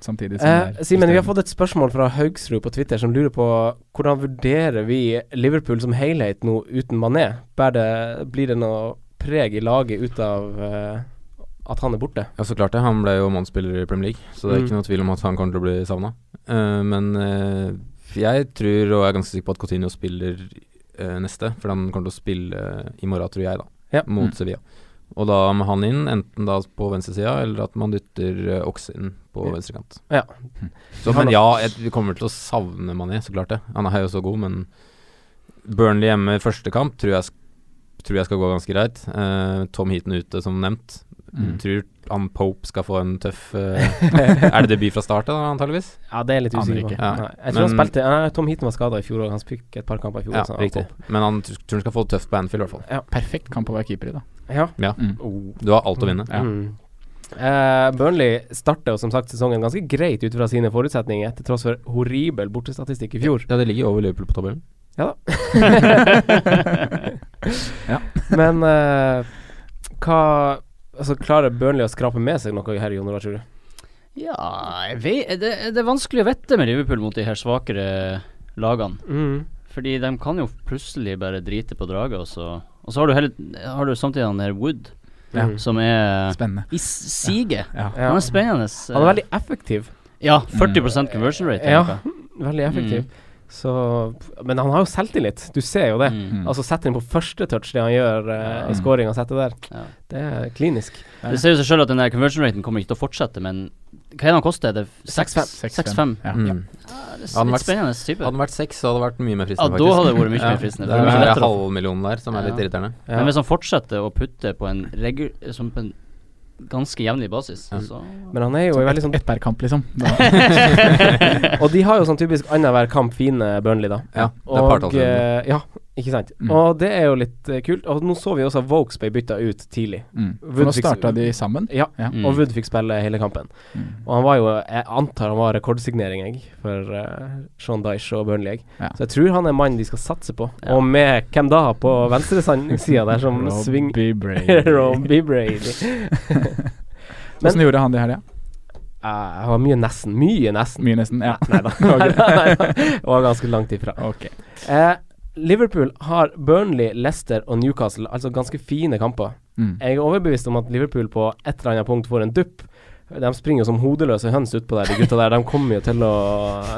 E: samtidig som
C: Eh,
E: det er
C: Simen, vi har
E: frustrerende.
C: fått et spørsmål fra Haugsrud på Twitter som lurer på hvordan vurderer vi Liverpool som helhet nå uten Mané? Bærer det, blir det noe preg i laget ut av eh, at han er borte?
A: Ja, så klart det. Han ble jo mannsspiller i Premier League, så det er
C: Mm.
A: ikke noe tvil om at han kommer til å bli savna. men eh, jeg tror, og jeg er ganske sikker på at Coutinho spiller eh, neste, for han kommer til å spille eh, i morgen, tror jeg, da,
C: Ja.
A: mot
E: Mm.
A: Sevilla. Og da må han inn, enten da på venstresida, eller at man dytter uh, Ox inn på
C: Ja.
A: venstrekant.
C: Ja.
A: Så, men ja, jeg, vi kommer til å savne Mané, så klart det. Han er jo så god, men Burnley hjemme i første kamp tror jeg, sk- tror jeg skal gå ganske greit. Eh, Tom Heaton ute, som nevnt.
E: Mm.
A: Tror han Pope skal få en tøff eh, Er det debut fra start, da, antageligvis?
C: Ja, det er jeg litt
E: Aner
C: usikker på.
E: ikke.
A: Ja.
C: Nei, jeg tror han
A: Men-
C: spilte nei, Tom Heaton var skada i fjor òg, han fikk et par kamper i fjor.
A: Ja,
C: så han
A: riktig.
C: kom.
A: Men altså, han tr- tror han skal få det tøft på Anfield, i hvert fall.
E: Perfekt kamp å være keeper i, da.
C: Ja.
A: Ja.
E: Mm.
A: Du har alt å vinne.
E: Ja.
C: Mm. Eh, Burnley starter jo som sagt sesongen ganske greit ut fra sine forutsetninger, til tross for horribel bortestatistikk i fjor.
A: Ja, det ligger jo over Liverpool på tabellen.
C: Men eh, hva Altså, klarer Burnley å skrape med seg noe her, Jon Olav, tror du?
D: Ja, jeg vet, det, det er vanskelig å vite med Liverpool mot de her svakere lagene. Fordi de kan jo plutselig bare drite på draget, og så, og så har, du hele, har du samtidig han her Wood,
E: Ja.
C: Mm.
D: som er
E: Spennende.
D: i s- siget.
E: Ja.
C: Ja.
D: Han er spennende. eh,
C: Han er veldig effektiv.
D: Ja, 40 conversion rate.
C: Ja,
D: tenker jeg.
C: veldig effektiv. Så Men han har jo selvtillit, du ser jo det.
D: Mm.
E: Mm.
C: Altså setter inn på første touch det han gjør, uh,
E: Mm.
C: scoring og setter der.
D: Ja.
C: Det er klinisk.
D: Det ser jo seg selv at den der conversion raten kommer ikke til å fortsette, men hva er det han koster? Er det seks-
E: 6-5.
D: 6-5?
E: Ja.
A: Mm.
D: Ja, det
A: Hadde
D: er litt
A: vært-
D: spennende type.
A: Hadde den vært seks, så hadde det vært mye mer
D: Ja,
A: fristende,
D: da hadde det vært mye mer fristende.
A: Det
D: for
A: er den
D: det er mye
A: der
D: lettere å
A: halvmillionen der som er litt
D: Ja.
A: irriterende.
C: Ja.
D: Men hvis han fortsetter å putte på en, regu som på en ganske jevnlig basis,
A: Ja.
D: så
C: Men han er jo veldig sånn
E: Ett per kamp, liksom. Da.
C: Og de har jo sånn typisk annenhver kamp fine Burnley, da.
A: Ja, det er
C: Og
A: partallsrunde.
C: eh, Ja, ikke sant.
E: Mm.
C: Og det er jo litt eh, kult. Og nå så vi også at Vokes ble bytta ut tidlig.
E: Mm. For nå starta de sammen.
C: Ja.
E: Ja.
D: Mm.
C: Og Wood fikk spille hele kampen.
E: Mm.
C: Og han var jo Jeg antar han var rekordsignering, jeg, for eh, Sean Dyche og Burnley. Jeg.
E: Ja.
C: Så jeg tror han er mannen de skal satse på.
D: Ja.
C: Og med hvem da på venstresida der som sving
E: Robbie Brady.
C: Robbie Brady.
E: Åssen gjorde han det i helga?
C: Eh, Han var mye nesten. Mye nesten.
E: Mye, nesten. Ja.
C: Nei da. Det var ganske langt ifra.
E: Ok.
C: Eh, Liverpool har Burnley, Leicester og Newcastle, altså ganske fine kamper.
E: Mm.
C: Jeg er overbevist om at Liverpool på et eller annet punkt får en dupp. De springer jo som hodeløse høns utpå der, de gutta der. De kommer jo til å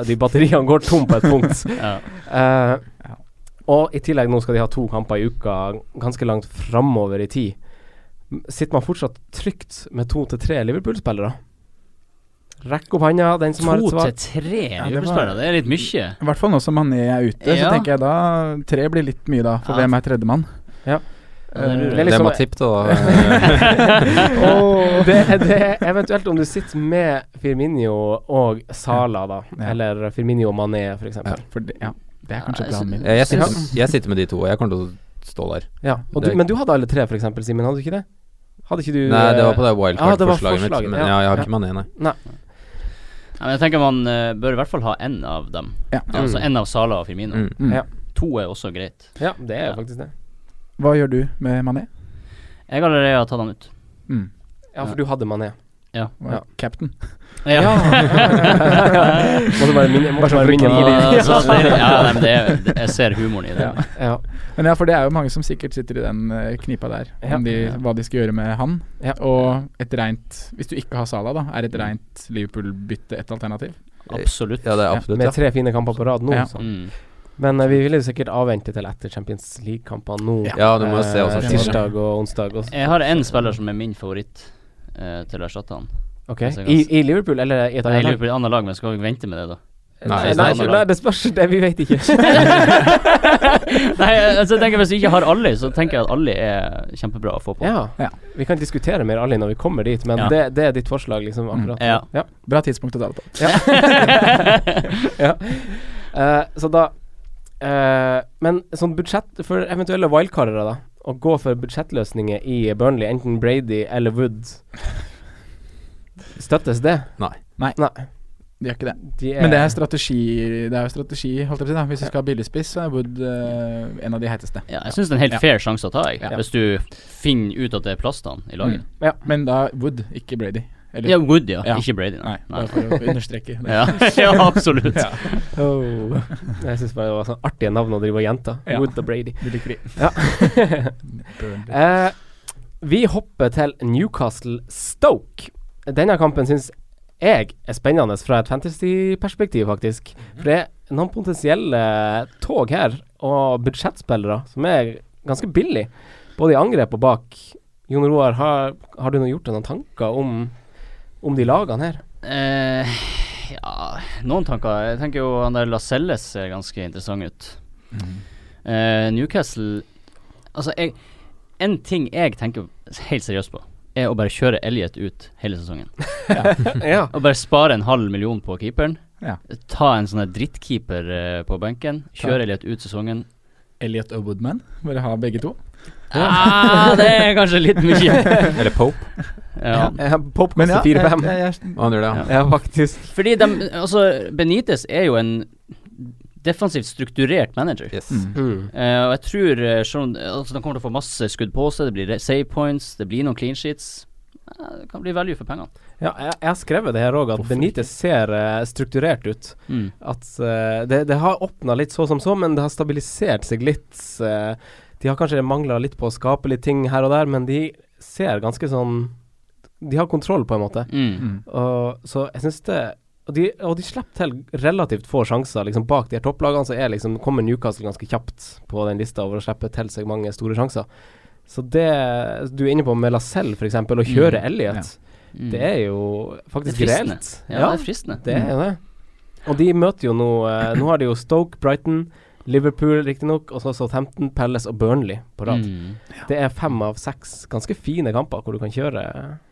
C: De batteriene går tom på et punkt.
D: ja.
C: Eh, og i tillegg nå skal de ha to kamper i uka, ganske langt framover i tid. M- Sitter man fortsatt trygt med to til tre Liverpool-spillere? Rekk opp handa, den som har
D: To
C: et svar.
D: til tre
E: det var-
D: Liverpool-spillere, det er litt mye.
E: I hvert fall nå som Mané er ute,
D: Ja.
E: så tenker jeg da tre blir litt mye, da. For
D: Ja.
E: hvem er tredjemann?
C: Ja.
E: Eh,
D: Det
C: er
A: Det
C: liksom-
A: må tippe, da.
C: Åh, det, det er eventuelt om du sitter med Firminio og Sala, da.
E: Ja.
C: Eller Firminio og Mané, for eksempel.
E: for det, ja, det er kanskje
D: Ja,
E: planen min.
A: Eh, jeg, sitter, jeg sitter med de to, og jeg kommer til å stå der.
C: Ja. Og du,
A: Det-
C: men du hadde alle tre, for eksempel, Simen. Hadde du ikke det? Hadde ikke du
A: Nei, det var på det
C: ja, det var
A: wildcard-forslaget mitt.
C: forslaget,
A: Men
C: ja.
A: ja, jeg har
C: Ja.
A: ikke mané, nei.
D: Ja, men jeg tenker man eh, bør i hvert fall ha én av dem.
E: Ja.
D: Altså
C: Mm.
D: én av Sala og Firmino.
A: Mm.
E: Mm.
C: Ja.
D: To er også greit.
C: Ja, det er jo
D: Ja.
C: faktisk det.
E: Hva gjør du med Mané?
D: Jeg allerede har tatt han ut.
E: Mm.
C: Ja, for du hadde Mané.
E: Hva-
C: Ja.
E: Captain.
D: Ja.
C: måtte bare minne måtte bare minne på
D: Ja,
C: det.
D: altså, det- ja, nei, men det er, det- jeg ser humoren i det.
E: Ja.
C: Ja.
E: Men ja, for det er jo mange som sikkert sitter i den eh, knipa der,
C: Ja.
E: om de, hva de skal gjøre med han.
C: Ja.
E: Og et rent Hvis du ikke har Salah, da, er et rent Liverpool-bytte et alternativ?
D: Absolutt.
A: Ja, det er absolutt,
C: Med
A: ja.
C: tre fine kamper på rad nå,
E: Ja.
C: så
D: Mm.
C: Men eh, vi vil jo sikkert avvente til etter Champions League-kampene nå.
A: Ja, du må jo se også
C: Eh, Tirsdag og onsdag. Også.
D: Jeg har én spiller som er min favoritt eh, til å erstatte han.
C: Ok. I, I Liverpool, eller i et
D: Nei,
C: annet
D: jeg lurer
C: lag?
D: på et annet lag, men skal vi vente med det, da?
C: Nei,
A: Nei,
C: nei,
D: nei,
C: nei, det spørs. Det, vi vet ikke.
D: Nei, altså jeg tenker Hvis du ikke har Ali, så tenker jeg at Ali er kjempebra å få på.
C: Ja.
E: Ja.
C: Vi kan diskutere mer Ali når vi kommer dit, men
D: Ja.
C: det, det er ditt forslag, liksom,
A: Mm.
C: akkurat. nå.
D: Ja.
C: ja.
E: Bra tidspunkt å ta det på.
C: ja. Eh, så da eh, Men sånn budsjett for eventuelle wildcardere, da. Å gå for budsjettløsninger i Burnley, enten Brady eller Wood. Støttes det?
E: De gjør ikke det.
C: De
E: Men det er strategi, det er jo strategi holdt jeg på å si. da Hvis du skal ha billigspiss, så er Wood eh, en av de heiteste.
D: Ja, jeg syns det er en helt
E: Ja.
D: fair sjanse å ta, jeg.
C: Ja.
D: Hvis du finner ut at det er plass til han i laget.
C: Ja.
E: Mm. Men da Wood, ikke Brady. Eller-
D: Ja, Wood, ja.
E: Ja.
D: Ikke Brady.
E: Nei,
D: Nei.
E: bare for å understreke det.
D: Ja. ja, absolutt.
C: oh. Jeg syns bare det var sånn artige navn å drive og gjenta.
E: Ja.
C: Wood og Brady.
E: Du liker de. Burnley.
C: Eh, vi hopper til Newcastle-Stoke. Denne kampen syns jeg er spennende fra et fantasy-perspektiv, faktisk. For det er noen potensielle tog her, og budsjettspillere, som er ganske billig. Både i angrep og bak. Jon Roar, har, har du nå gjort deg noen tanker om, om de lagene her?
D: Eh, ja, noen tanker. Jeg tenker jo han der Lascelles ser ganske interessant ut. Eh, Newcastle Altså, jeg, en ting jeg tenker helt seriøst på, er å bare kjøre Elliot ut hele sesongen.
C: ja.
D: Og bare spare en halv million på keeperen.
E: Ja.
D: Ta en sånn her drittkeeper eh, på benken. Kjøre Elliot ut sesongen.
E: Elliot og Woodman, bare ha begge to.
D: Ah, det er kanskje litt mye.
A: Eller Pope.
D: Ja.
C: Eh, Pop
E: Men ja,
C: koster 4-5.
E: jeg-
C: Ja,
E: jeg- jeg-
A: Og han gjør det, ja.
C: faktisk.
D: Fordi de, altså, Benitez er jo en defensivt strukturert manager.
A: Yes.
E: Mm.
C: Mm.
D: Eh, og jeg tror eh, selv om altså, de kommer til å få masse skudd på seg, det blir re- save points, det blir noen clean sheets. Eh, det kan bli value for pengene.
C: Ja, jeg, jeg har skrevet det her òg, at Benitez ser eh, strukturert ut. at eh, det, det har åpna litt så som så, men det har stabilisert seg litt. eh, de har kanskje mangla litt på å skape litt ting her og der, men de ser ganske sånn De har kontroll, på en måte.
D: Mm.
E: Mm.
C: Og, så jeg syns det og de, og de slipper til relativt få sjanser. Liksom Bak de her topplagene så er liksom, kommer Newcastle ganske kjapt på den lista over å slippe til seg mange store sjanser. Så det du er inne på med Lacelle, f.eks., å kjøre
E: Mm,
C: Elliot,
D: Mm.
C: det er jo faktisk
D: Det er fristende.
C: reelt.
D: ja, Mm. det er fristende.
C: Det er jo det. Og de møter jo nå eh, Nå har de jo Stoke, Brighton, Liverpool riktignok, og så Southampton, Palace og Burnley på rad.
D: Mm.
C: Det er fem av seks ganske fine kamper hvor du kan kjøre,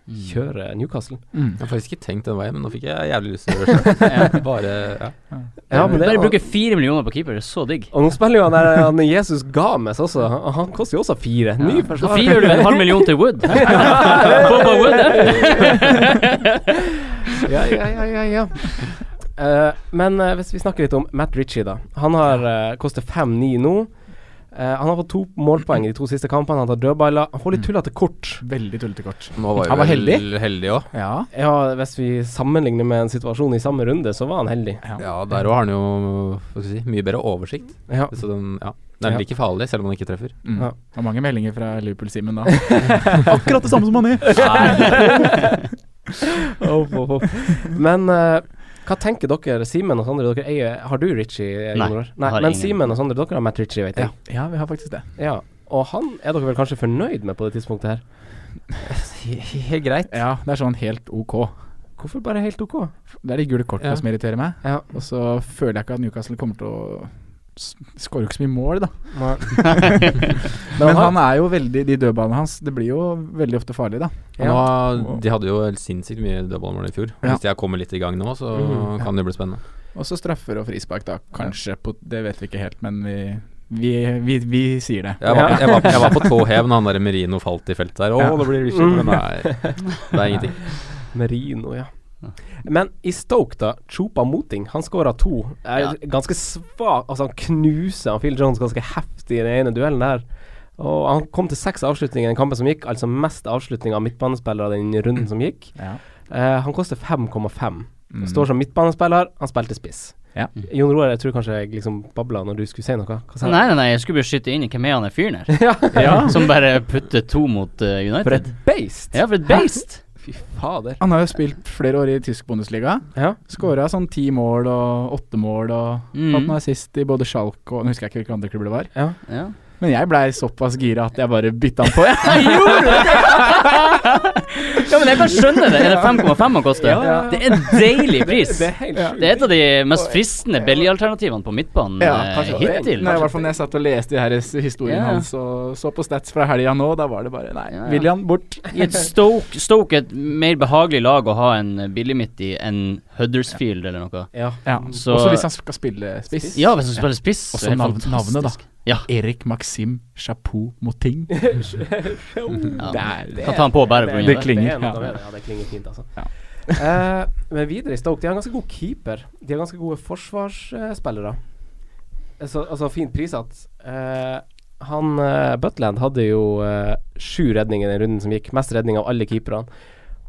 D: Mm.
C: kjøre Newcastle.
E: Mm.
A: Jeg har faktisk ikke tenkt den veien, men nå fikk jeg jævlig lyst til å gjøre det. selv. Bare ja.
C: Ja, men det
D: Bare
C: er jo
D: bruke fire millioner på keeper, det er så digg.
C: Eh, og nå spiller jo han der han Jesus Games også, og han koster jo også fire. Ny
D: Så
C: forsvarer.
D: firer du en halv million til Wood. Boba Wood, eh?
C: ja, ja, ja, ja, ja. Eh, men eh, hvis vi snakker litt om Matt Ritchie, da. Han har eh, koster 5-9 nå. Eh, han har fått to målpoeng i de to siste kampene. Han tar dødballer. Han får litt tullete kort.
E: Veldig tullete kort.
A: Nå var jo
E: Han var
A: vel
E: heldig.
A: heldig òg.
E: Ja.
C: Ja, hvis vi sammenligner med en situasjon i samme runde, så var han heldig.
A: Ja, der òg har han jo hva skal jeg si, mye bedre oversikt.
C: Ja.
A: Så den, ja. den
C: Ja.
A: er like farlig, selv om han ikke treffer.
E: Mm.
C: Ja.
E: Det var mange meldinger fra Liverpool-Simen da. Akkurat det samme som Mané!
C: Hopp, hopp, hopp. Men eh, hva tenker dere, Simen og Sondre? Dere eier, har du Ritchie? eh,
D: Nei,
C: Gunnar?
D: jeg har
C: Nei men
D: ingen.
C: Simen og Sondre, dere har Matt Ritchie, vet jeg.
E: Ja, vi har faktisk det.
C: Ja. Og han er dere vel kanskje fornøyd med på det tidspunktet her?
A: Helt greit.
E: Ja, det er sånn helt ok.
C: Hvorfor bare helt ok?
E: Det er de gule kortene
A: Ja.
E: som irriterer meg.
C: Ja.
E: Og så føler jeg ikke at Newcastle kommer til å s- Skårer jo ikke så mye mål, da. Men han er jo veldig De dødballene hans, det blir jo veldig ofte farlig, da.
A: Nå,
C: ja.
A: de hadde jo helt sinnssykt mye dødballmål i fjor.
E: Ja.
A: Hvis de har kommet litt i gang nå, så
C: Mhm.
A: kan det bli spennende.
E: Og så straffer og frispark, da. Kanskje på Det vet vi ikke helt, men vi, vi, vi, vi sier det.
A: Jeg var, jeg var, jeg var på tå hev når han der Merino falt i feltet der. Å,
E: Ja.
A: det blir Ritchie.
C: Mm.
A: Men nei, det er ingenting.
C: Merino, ja. Men i Stoke, da. Chopa Moting, han skåra to. Er
D: Ja.
C: Ganske svak Altså, han knuser han Phil Jones ganske heftig i den ene duellen der. Og han kom til seks avslutninger i den kampen som gikk, altså mest avslutning av midtbanespillere den runden som gikk.
E: Ja.
C: Eh, han koster 5,5.
E: Mm.
C: Står som midtbanespiller, han spilte spiss.
E: Ja.
C: Jon Roar, jeg tror kanskje jeg liksom babla når du skulle si noe. Hva sa du?
D: Nei, nei, nei, jeg skulle bare skyte inn i hvem er han der fyren her?
C: Ja.
D: Som bare putter to mot eh,
C: For et
D: United.
C: beist!
D: Ja, for et beist!
C: Fy fader.
E: Han har jo spilt flere år i tysk Bundesliga.
C: Ja.
E: Skåra sånn ti mål og åtte mål og
D: Mm.
E: hatt noe assist i både Schalke og Nå husker jeg ikke hvilke andre klubber det var.
D: Ja.
E: Men jeg blei såpass gira at jeg bare bytta han på, jeg.
D: ja, men jeg kan skjønne det. Er det 5,5 han koster?
C: Ja.
D: Det er en deilig pris.
C: Det er helt sjukt.
D: Det er et av de mest fristende Belly-alternativene på midtbanen eh, hittil.
E: Nei, I hvert fall når jeg satt og leste de her s- historiene
D: Ja.
E: hans og så på stats fra helga nå, da var det bare Nei,
D: Ja, ja.
E: William, bort.
D: I et Stoke, Stoke er et mer behagelig lag å ha en billig midt i enn Huddersfield eller noe.
C: Ja.
E: Ja.
D: Så-
E: Også hvis han skal spille spiss.
D: Ja, hvis du spiller spiss,
E: Og
D: så
E: så
D: er det
E: navn,
D: fantastisk.
E: navnet, da.
D: Ja.
E: Erik Maxim Chapeau Moting.
D: Ja.
E: Det er- det
D: kan ta han på bare pga.
E: det
D: det.
E: klinger,
C: Det er noe
E: ja.
C: med det. Ja, det klinger fint, altså.
E: Ja.
C: Eh, men videre i Stoke, de har en ganske god keeper. De har ganske gode forsvarsspillere. Så, altså fint prissatt. Eh, han eh, Butland hadde jo eh, sju redninger i den runden som gikk. Mest redning av alle keeperne.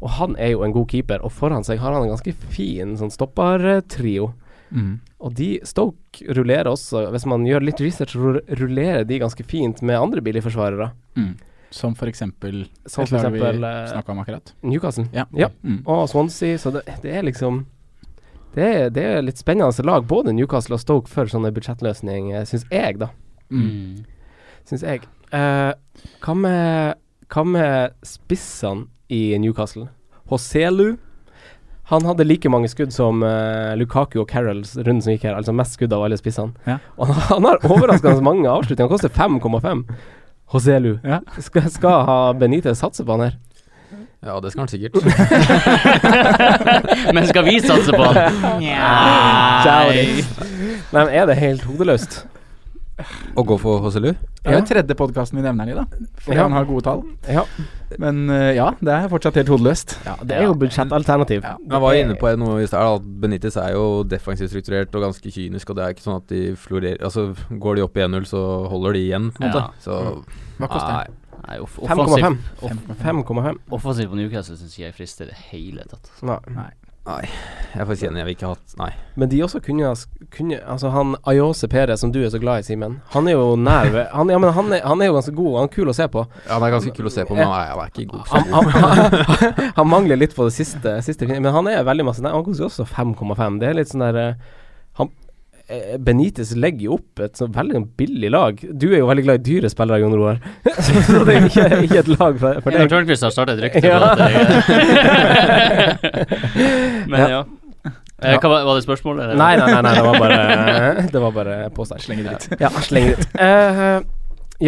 C: Og han er jo en god keeper, og foran seg har han en ganske fin sånn stoppertrio.
E: Mm.
C: Og de Stoke rullerer også, hvis man gjør litt research, ru- rullerer de ganske fint med andre billige forsvarere.
E: Mm. Som for eksempel
C: Som
E: et
C: for
E: lag
C: eksempel
E: vi
C: eh,
E: snakka om akkurat.
C: Newcastle.
E: Ja.
C: ja.
E: Mm.
C: og Swansea, så det, det er liksom det er, det er litt spennende lag, både Newcastle og Stoke, for sånne budsjettløsninger, syns jeg, da.
E: Mm.
D: Mm.
C: Syns jeg. Eh, hva, med, hva med spissene i Newcastle? Hoselu. Han hadde like mange skudd som eh, Lukaku og Carroll runden som gikk her, altså mest skudd av alle spissene.
E: Ja.
C: Og han, han har overraskende mange avslutninger. Han koster 5,5. Hoselu.
E: Ja.
C: Skal, skal ha Benitez satse på han her?
A: Ja, det skal han sikkert.
D: Men skal vi satse på han? Nei.
C: Nei, men er det helt hodeløst?
A: Å gå for Hosselu?
E: Det er jo tredje podkasten vi nevner han i, da. Fordi
C: Ja.
E: han har gode tall.
C: Ja.
E: Men eh, ja, det er fortsatt helt hodeløst.
C: Ja, det er jo budsjettalternativ. Ja.
A: Jeg var jo inne på noe i stad, at Benitez er jo defensivt strukturert og ganske kynisk, og det er ikke sånn at de florerer Altså, går de opp i 1-0, så holder de igjen, på en måte.
D: Ja.
A: Så
E: Hva koster den?
D: Nei, off offensiv,
C: 5,5. Ah, 5,5.
D: offensiv på Newcastle syns ikke jeg frister i det hele tatt.
C: Nei.
A: jeg er faktisk enig, jeg vil ikke ha hatt Nei.
C: Men de også kunne, ha s- kunne Altså, han Ayose Perez, som du er så glad i, Simen, han er jo nær ved han, ja, men han, er, han er jo ganske god, han er kul å se på.
A: Ja, han er ganske kul å se på, men han er, han er ikke god.
C: Han, han, han, han mangler litt på det siste, siste fin- men han er veldig masse nær. Han koster jo også 5,5. Det er litt sånn der eh, han, eh, Benitez legger jo opp et sånn veldig billig lag. Du er jo veldig glad i dyre spillere, Jon Roar, så det er ikke, ikke et lag for, for
D: Jeg
C: deg.
D: Tørnquist har startet et rykte på
C: Ja.
D: at jeg Men
C: Ja.
D: ja. Eh, Hva var, var det spørsmålet? eller?
C: Nei, nei, nei, nei, det var bare Det var bare påstand.
E: Slenge dritt.
C: Ja, slenge dritt. Eh,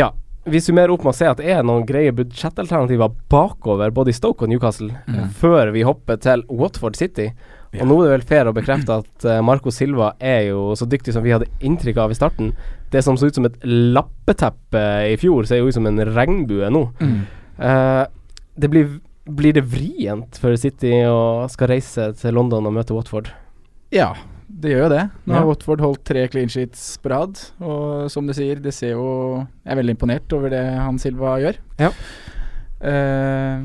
C: ja. Vi summerer opp med å se at det er noen greie budsjettalternativer bakover både i Stoke og Newcastle, eh, før vi hopper til Watford City. Og nå er det vel fair å bekrefte at eh, Marco Silva er jo så dyktig som vi hadde inntrykk av i starten. Det som så ut som et lappeteppe eh, i fjor, ser jo ut som en regnbue nå. Eh, det blir, blir det vrient for City å skal reise til London og møte Watford?
E: Ja, det gjør jo det. Nå har
C: Ja.
E: Watford holdt tre clean sheets på rad, og som du sier, det ser jo Jeg er veldig imponert over det han Silva gjør.
C: Ja.
E: Eh,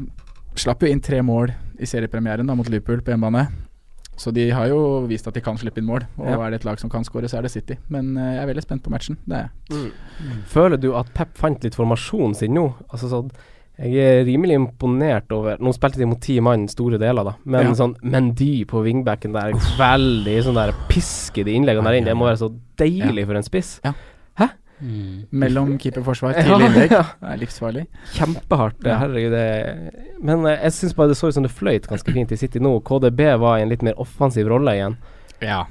E: slapp jo inn tre mål i seriepremieren da mot Liverpool på hjemmebane. Så de har jo vist at de kan slippe inn mål, og
C: Ja.
E: er det et lag som kan skåre, så er det City. Men eh, jeg er veldig spent på matchen. Det er jeg.
C: Føler du at Pep fant litt formasjonen sin nå? Altså sånn jeg er rimelig imponert over Nå spilte de mot ti mann store deler, da. Men
E: Ja.
C: sånn Mendy på wingbacken der, veldig sånn der piske de innleggene der inn. Det må være så deilig for en spiss.
D: Mm.
E: Mellom keeperforsvar til
C: Ja,
E: innlegg.
C: ja.
E: Det er livsfarlig.
C: Kjempehardt. det,
E: Ja.
C: Herregud, det Men eh, jeg syns bare det så ut som det fløyt ganske fint i City nå. KDB var i en litt mer offensiv rolle igjen.
E: Ja.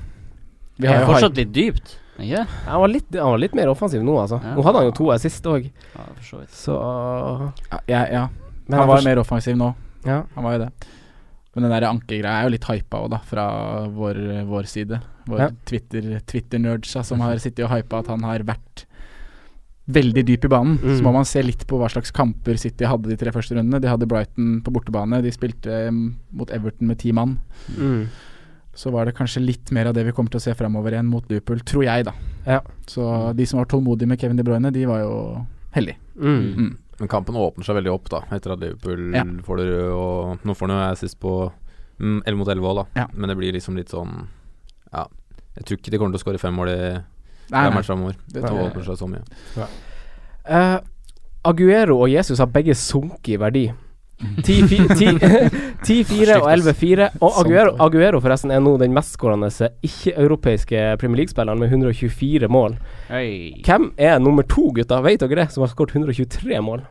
E: Vi
D: Det
E: har
D: er
E: jo hype-
D: fortsatt litt dypt. Ikke?
C: Han var litt, han var litt mer offensiv nå, altså.
D: Ja.
C: Nå hadde han jo to assist òg,
D: Ja, for så vidt.
C: så
E: ja, ja, ja.
C: Men
E: han var
C: forst-
E: mer offensiv nå.
C: ja.
E: Han var jo det. Men den der ankegreia er jo litt hypa òg, da, fra vår, vår side. Vår
C: Ja. Mhm.
E: Twitter- Twitter-nerdsa som har sittet og hypa at han har vært veldig dyp i banen.
C: Mm.
E: Så må man se litt på hva slags kamper City hadde de tre første rundene. De hadde Brighton på bortebane, de spilte mm, mot Everton med ti mann.
C: Mm.
E: Så var det kanskje litt mer av det vi kommer til å se framover igjen mot Liverpool, tror jeg, da.
C: Ja.
E: Så de som var tålmodige med Kevin De Bruyne, de var jo heldige.
C: Mm.
E: Mm.
A: Men kampen åpner seg veldig opp, da, etter at Liverpool
E: Ja.
A: får det røde, og nå får han jo assist på mm, 11 mot 11 òg, da.
E: Ja.
A: Men det blir liksom litt sånn Ja. Jeg tror ikke de kommer til å skåre fem mål i
E: Nei, nei,
A: matchen framover. Det
E: det tror jeg-
A: åpner seg så mye.
C: Eh, Aguero og Jesus har begge sunket i verdi. 10-4 10-4 og 11-4. Og Aguero, Aguero forresten er nå den mestskårende ikke-europeiske Premier League-spilleren med 124 mål.
D: Oi.
C: Hvem er nummer to, gutta, vet dere det, som har skåret 123 mål?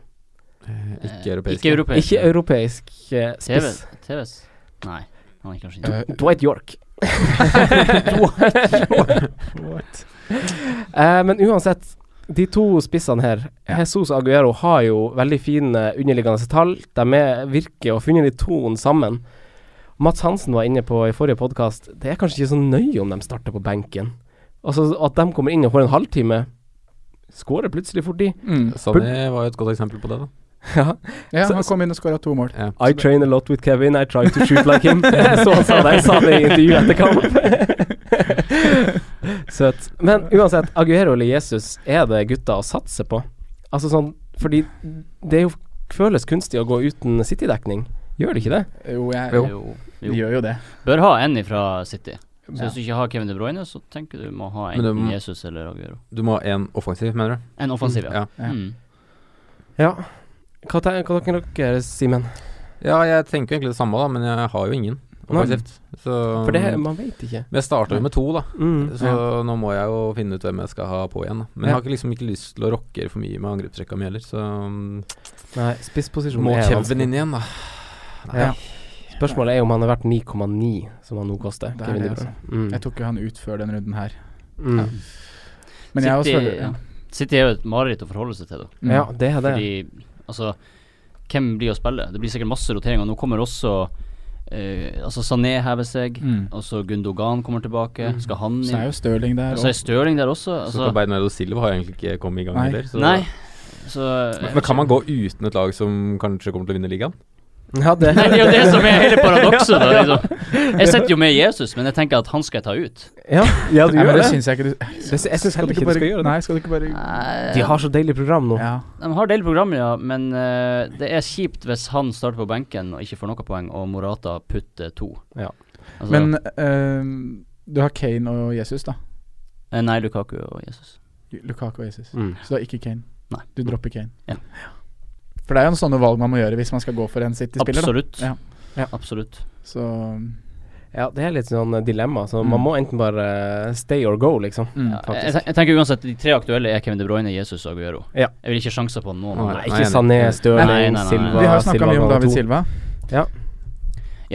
A: Eh, Ikke europeisk.
D: Eh, Ikke europeisk.
C: Ikke europeisk eh,
D: TV,
C: spiss.
D: TVs? Nei, han er kanskje ikke
C: Eh, Dwight York. Dwight York. Eh, men uansett, de to spissene her, Jesus og Aguero, har jo veldig fine eh, underliggende tall. De er, virker å ha funnet de toen sammen. Mats Hansen var inne på i forrige podkast, det er kanskje ikke så nøye om de starter på benken. Altså At de kommer inn og får en halvtime, skårer plutselig fort de.
E: Mm.
A: Sonny var jo et godt eksempel på det, da.
E: Ja,
C: Så-
E: han kom inn og skåra to mål.
A: Ja.
C: I train a lot with Kevin, I try to shoot like him. Så han sa det, jeg sa det i intervjuet etter kamp. Søt. Men uansett, Aguero eller Jesus, er det gutta å satse på? Altså sånn, fordi det er jo føles kunstig å gå uten City-dekning. Gjør det ikke det?
E: Jo, jeg,
A: Jo.
D: Jo.
E: de
D: jo.
E: gjør jo det.
D: Bør ha en ifra City. Så
E: Ja.
D: hvis du ikke har Kevin De Bruyne, så tenker du må ha
A: Men det
D: enten
A: må-
D: Jesus eller Aguero.
A: Du må ha én offensiv, mener du?
D: En offensiv, ja.
A: Ja.
E: Ja.
D: Mm.
C: Ja. Hva ten- hva tenker dere, Simen?
A: ja, jeg tenker jo egentlig det samme, da, men jeg har jo ingen offensivt. Så
C: For det, man vet ikke.
A: Men jeg starter jo med to, da.
C: Mm.
A: Så nå må jeg jo finne ut hvem jeg skal ha på igjen. Da. Men jeg har ikke, liksom ikke lyst til å rocke for mye med angrepstrekka mi heller, så um,
C: Nei, spissposisjon
A: må
C: er
A: Kevin
C: vanskelig.
A: inn igjen, da.
C: Ja. Spørsmålet er om han er verdt 9,9, som han nå koster.
E: Det er
C: Kevin
E: det,
C: De Bruyne. Mm.
E: Jeg tok jo han ut før den runden her.
C: Mm.
E: Ja. Men jeg også
D: City,
E: føler ja.
D: ja. City er jo et mareritt å forholde seg til, da.
E: Mm.
C: ja, det er det.
D: Fordi, altså Hvem blir å spille? Det blir sikkert masse roteringer. Nå kommer også eh, Altså, Sané hever seg.
E: Mm.
D: Altså, Gundogan kommer tilbake.
C: Mm.
D: Skal han
E: Så er
D: inn?
E: jo Stirling der.
C: Altså,
D: Så er
E: Og,
D: Stirling der også.
A: Så
D: Altså,
A: Bernardo Silva har egentlig ikke kommet i gang
E: Nei.
A: heller. Så
D: nei. Så jeg
A: Men
D: vet
A: kan man
D: ikke.
A: gå uten et lag som kanskje kommer til å vinne ligaen?
C: Ja, det,
D: Nei, det er jo det som er hele paradokset. Da, liksom. Jeg sitter jo med Jesus, men jeg tenker at han skal jeg ta ut.
C: Ja, ja du
E: nei, men
C: gjør
E: det
C: det.
E: syns jeg ikke du
C: Det sy- jeg syns heller ikke du skal gjøre det.
E: Nei, skal du ikke bare
C: De har så deilig program nå.
E: Ja.
D: De har del programmer, ja, men eh, det er kjipt hvis han starter på benken og ikke får noe poeng, og Morata putter to.
C: Ja.
D: Altså,
E: Men ehm, du har Kane og Jesus, da.
D: eh, Nei, Lukaku og Jesus.
E: Lukaku og Jesus.
C: Mm.
E: Så du har ikke Kane.
D: Nei.
E: Du dropper Kane.
D: Ja.
E: For det er jo en sånne valg man må gjøre hvis man skal gå for en City-spiller. da.
D: Absolutt.
E: Ja. Mm.
C: Ja.
D: Absolutt.
E: Så
C: Ja, det er litt sånn eh, dilemma, så
E: Mm.
C: man må enten bare eh, stay or go, liksom.
E: mm.
D: Ja, jeg, jeg tenker uansett de tre aktuelle er Kevin De Bruyne, Jesus og Aguero.
C: Ja.
D: Jeg vil ikke sjanse på noen
A: Nei.
D: andre.
C: Nei, ikke
A: enig.
C: Sané, Støling,
D: Nei, nei, nei, nei.
C: Silva
E: Vi har snakka
C: Silva
E: mye om
C: ganger
E: David
C: to.
E: Silva.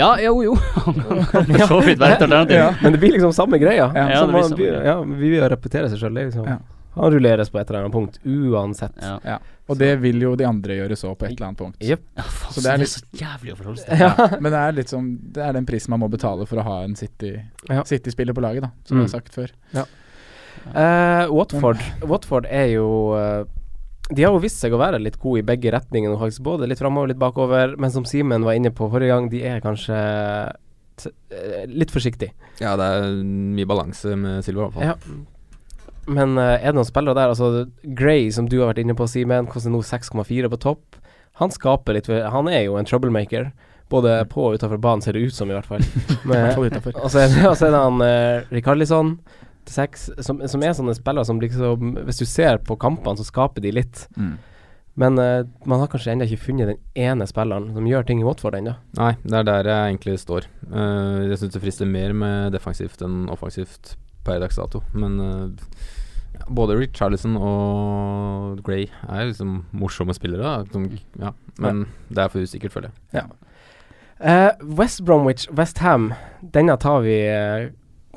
D: Ja, jo, jo. Han kan for så vidt være et alternativ.
E: Ja.
C: Men det blir liksom samme greia.
E: Ja.
D: Ja,
C: Så
D: det blir
C: man
D: samme
C: blir-
D: greia.
C: ja, vi vil jo repetere seg sjøl, liksom.
E: Ja.
C: Han rulleres på et eller annet punkt uansett.
D: Ja.
E: Og det vil jo de andre gjøre så på et eller annet punkt.
C: Jep.
D: Ja, faen,
E: Så
D: så
E: det er
D: det er
E: litt-
D: så jævlig å forholde seg til.
E: Ja. Men det er litt som Det er den prisen man må betale for å ha en City
C: Ja.
E: City-spiller på laget, da. Som
C: Mm.
E: jeg har sagt før.
C: Eh, Watford Watford er jo eh, De har jo vist seg å være litt gode i begge retningene, faktisk. Både litt framover, litt bakover. Men som Simen var inne på forrige gang, de er kanskje t eh, litt forsiktige.
A: Ja, det er mye balanse med Silva, i hvert fall.
C: Ja. Men eh, er det noen spillere der? Altså Gray, som du har vært inne på, Simen, koster nå 6,4 på topp. Han skaper litt Han er jo en troublemaker. Både på og utenfor banen, ser det ut som, i hvert fall. Men-
E: Fall utenfor.
C: og så er det, og så er det han eh, Rikarlison til seks, som, som er sånne spillere som liksom Hvis du ser på kampene, så skaper de litt.
E: Mm.
C: Men eh, man har kanskje ennå ikke funnet den ene spilleren som gjør ting i Watford ennå.
A: Nei, det er der jeg egentlig står. Eh, jeg syns det frister mer med defensivt enn offensivt per dags dato. Men eh, ja, både Richarlison og Gray er liksom morsomme spillere. Da. Som, ja, men det er for usikkert, føler jeg.
C: Eh, West Bromwich, West Ham Denne tar vi eh,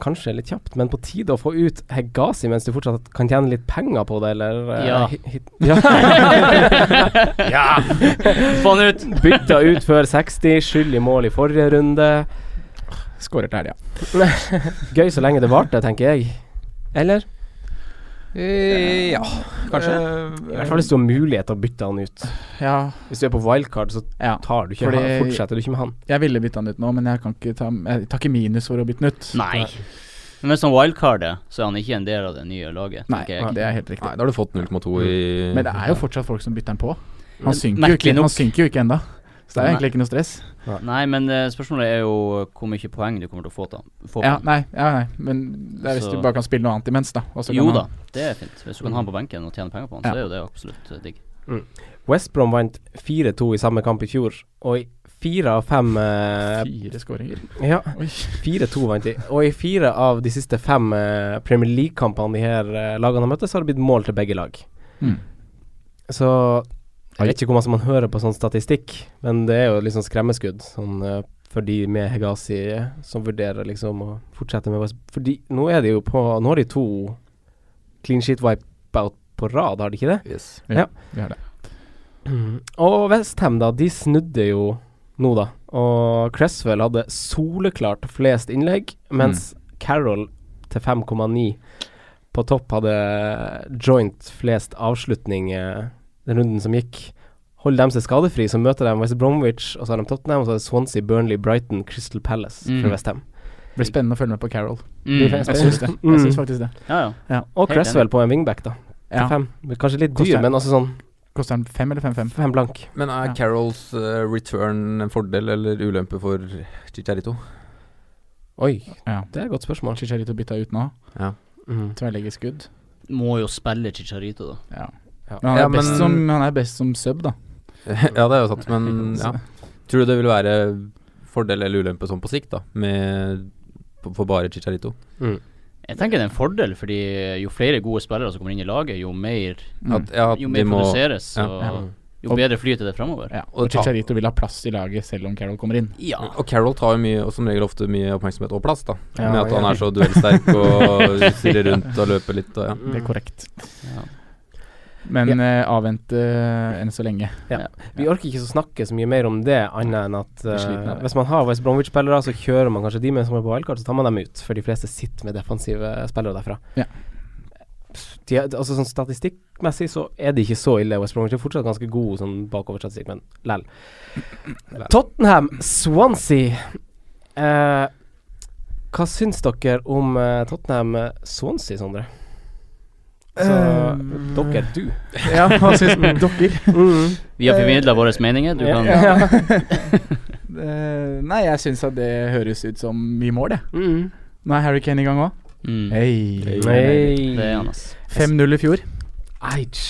C: kanskje litt kjapt, men på tide å få ut Hegazi mens du fortsatt kan tjene litt penger på det, eller eh,
D: Ja.
C: hi- hit- ja.
D: ja! Få han ut!
C: Bytta ut før 60, skyld i mål i forrige runde.
E: Skårer til helga.
C: Gøy så lenge det varte, tenker jeg. Eller?
E: Ja, kanskje.
C: I hvert fall hvis du har mulighet til å bytte han ut.
E: Eh, ja.
C: Hvis du er på wildcard, så
E: ja.
C: tar du ikke
E: Fordi-
C: han, fortsetter du ikke med han.
E: Jeg ville bytte han ut nå, men jeg kan ikke ta Jeg tar ikke minus for å bytte den ut.
D: Nei. Men som wildcard er, så er han ikke en del av det nye laget.
E: Nei,
D: tenker jeg.
E: det er helt riktig.
A: Nei, da har du fått 0,2 i
E: Mm. Men det er jo fortsatt folk som bytter den på. Han
D: Men
E: synker jo
D: merkelig
E: ikke,
D: nok-
E: han synker jo ikke ennå. Så det er jo egentlig ikke noe stress.
D: Nei, men eh, spørsmålet er jo hvor mye poeng du kommer til å få, da. få på
E: Ja,
D: den.
E: nei, ja, nei. Men det er hvis
D: Så-
E: du bare kan spille noe annet imens, da. og så kan
D: Jo
E: han-
D: da, det er fint. Hvis du kan ha han på benken og tjene penger på han,
E: Ja.
D: så er jo det absolutt eh, digg.
C: West Brom vant 4-2 i samme kamp i fjor, og i fire av fem eh,
E: Fire skåringer.
C: Ja,
E: Oi.
C: 4-2 vant de. Og i fire av de siste fem eh, Premier League-kampene de her eh, lagene har møttes, har det blitt mål til begge lag.
E: Mm.
C: Så jeg vet ikke hvor masse man hører på sånn statistikk, men det er jo liksom skremmeskudd sånn, eh, for de med Hegasi eh, som vurderer liksom å fortsette med West Fordi nå er de jo på Nå har de to clean sheet wipe-out på rad, har de ikke det?
A: Yes.
E: Vi har det.
C: Mm. Og Westham, da, de snudde jo nå, da. Og Cresswell hadde soleklart flest innlegg, mens
E: Mm.
C: Carroll til 5,9 på topp hadde joint flest avslutninger den runden som gikk. Holder de seg skadefri, så møter de West Bromwich, og så har de Tottenham, og så er det Swansea, Burnley, Brighton, Crystal Palace
D: Mm.
C: for Westham.
E: Blir spennende å følge med på Carol.
D: Mm.
C: fest.
E: Jeg syns det.
C: Mm.
E: Jeg syns faktisk det.
D: Ja, ja.
C: Og
D: Helt
C: Cresswell på en wingback, da. Til
E: Ja.
C: fem. Kanskje litt
E: Koster-
C: dyr, men altså sånn
E: Koster den fem eller fem-fem?
C: fem blank.
A: Men er
E: Ja.
A: Carols eh, return en fordel eller ulempe for Chicharito?
C: Oi,
E: Ja.
C: det er et godt spørsmål.
E: Chicharito bytta ut nå.
C: Mm.
E: Tverrleggerskudd.
D: Må jo spille Chicharito, da.
E: Ja.
C: Ja.
E: Men han er,
A: Ja,
E: best
A: men-
E: som, han er best som sub, da.
A: ja, det er jo sant, men ja. Tror du det vil være fordel eller ulempe sånn på sikt, da? Med på- for bare Chicharito?
C: Mm.
D: Jeg tenker det er en fordel, fordi jo flere gode spillere som kommer inn i laget, jo mer,
E: Mm.
A: At, ja, at
D: jo
A: de
D: mer
A: må
D: produseres,
A: ja.
D: og jo bedre flyter det framover.
E: ja.
A: og
E: Og
A: ta-
E: Chicharito vil ha plass i laget selv om Carol kommer inn.
D: Ja.
A: Og Carol tar jo mye, og som regel ofte mye oppmerksomhet og plass, da.
C: Ja,
A: med at han
C: ja.
A: er så duellsterk og stirrer rundt og løper litt og ja.
E: Det
C: Mm.
E: er korrekt.
D: Ja.
E: Men eh, avvente eh, enn så lenge.
C: Vi orker ikke så snakke så mye mer om det, annet enn at
E: er sliten
C: eh,
E: av det.
C: hvis man har West Bromwich-spillere, så kjører man kanskje de med som er på wildcard, så tar man dem ut, for de fleste sitter med defensive spillere derfra.
E: Ja.
C: De, er- altså sånn Statistikkmessig så er de ikke så ille. West Bromwich er fortsatt ganske gode sånn bakoverstatistikk, men lell. Tottenham, Swansea. Eh, hva syns dere om eh, Tottenham eh, Swansea, Sondre? Så,
E: Eh,
C: dere, du.
E: Ja, hva syns dere?
C: Mm.
D: Vi har formidla våre meninger. Du kan
C: Ja.
E: Eh, nei, jeg syns at det høres ut som vi må det.
C: Mm.
E: Nå er Harry Kane i gang òg.
D: mm.
E: Hei.
D: Det er han, ass.
E: 5-0 i fjor.
C: Eich.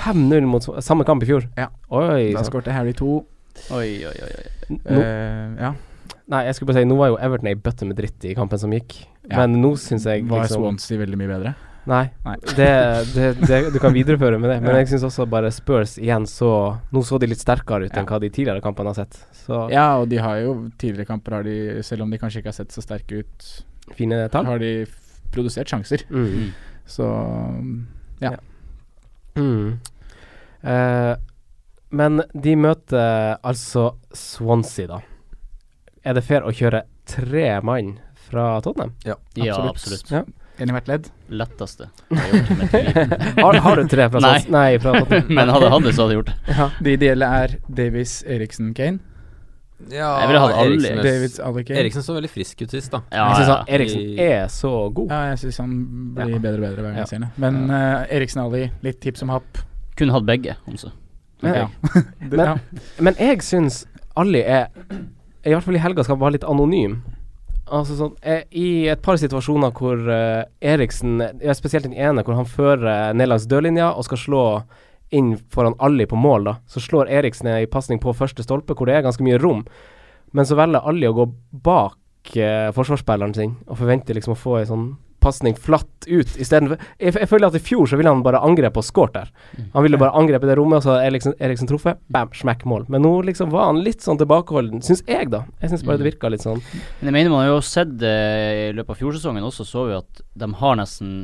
C: 5-0 mot Sv- samme kamp i fjor.
E: Ja.
C: Oi.
E: Da
C: sant.
E: skårte Harry to.
D: Oi, oi, oi. oi.
C: Nå,
E: Eh, ja.
C: nei, jeg skulle bare si, nå var jo Everton ei bøtte med dritt i kampen som gikk,
E: Ja.
C: men nå syns jeg
E: Var
C: liksom
E: Swansea veldig mye bedre?
C: Nei,
E: Nei.
C: det, det, det, du kan videreføre med det, men
E: Ja.
C: jeg syns også bare Spurs igjen så Nå så de litt sterkere ut
E: Ja.
C: enn hva de tidligere kampene har sett. Så
E: Ja, og de har jo tidligere kamper, har de, selv om de kanskje ikke har sett så sterke ut,
C: fine tall.
E: har de f- produsert sjanser.
C: Mm.
D: Mm.
E: Så mm, ja.
C: Ja. Mm. Eh, men de møter altså Swansea, da. Er det fair å kjøre tre mann fra Tottenham?
D: Ja,
E: Absolutt.
D: absolutt.
E: En i hvert ledd.
D: Letteste. jeg har gjort i mitt liv.
C: Har, har du tre fra
D: Nei.
C: Swansea? Nei. fra Tottenham.
D: Men hadde jeg hatt det, så hadde jeg gjort det.
E: De ideelle er Davies, Eriksen, Kane.
A: ja
D: Jeg ville hatt alle.
A: Eriksen-
E: Davids, alle Kane.
A: Eriksen så veldig frisk ut sist, da.
D: Ja,
C: jeg syns
D: ja.
C: han Eriksen er så god.
E: Ja, jeg syns han blir
C: Ja.
E: bedre og bedre hver gang
C: Ja.
E: jeg ser ham. Men eh, Eriksen Ali, litt hipp som happ.
D: Kunne hatt begge, om så.
C: Men,
E: Ja. Det-
C: Men-
E: ja.
C: men jeg syns Ali er I hvert fall i helga skal være litt anonym. Altså sånn eh, I et par situasjoner hvor eh, Eriksen ja, Spesielt den ene hvor han fører ned langs dørlinja og skal slå inn foran Ali på mål, da. Så slår Eriksen ei pasning på første stolpe hvor det er ganske mye rom. Men så velger Ali å gå bak eh, forsvarsspilleren sin og forventer liksom å få ei sånn pasning flatt ut istedenfor jeg, jeg føler at i fjor så ville han bare angrepe og skåret der. Han ville bare angrepe det rommet, og så hadde Eriksen, Eriksen truffet. Bam, smekk, mål. Men nå liksom var han litt sånn tilbakeholden, syns jeg, da. Jeg syns bare det virka litt sånn.
D: Men jeg mener man har jo sett det i løpet av fjorsesongen også, så vi at de har nesten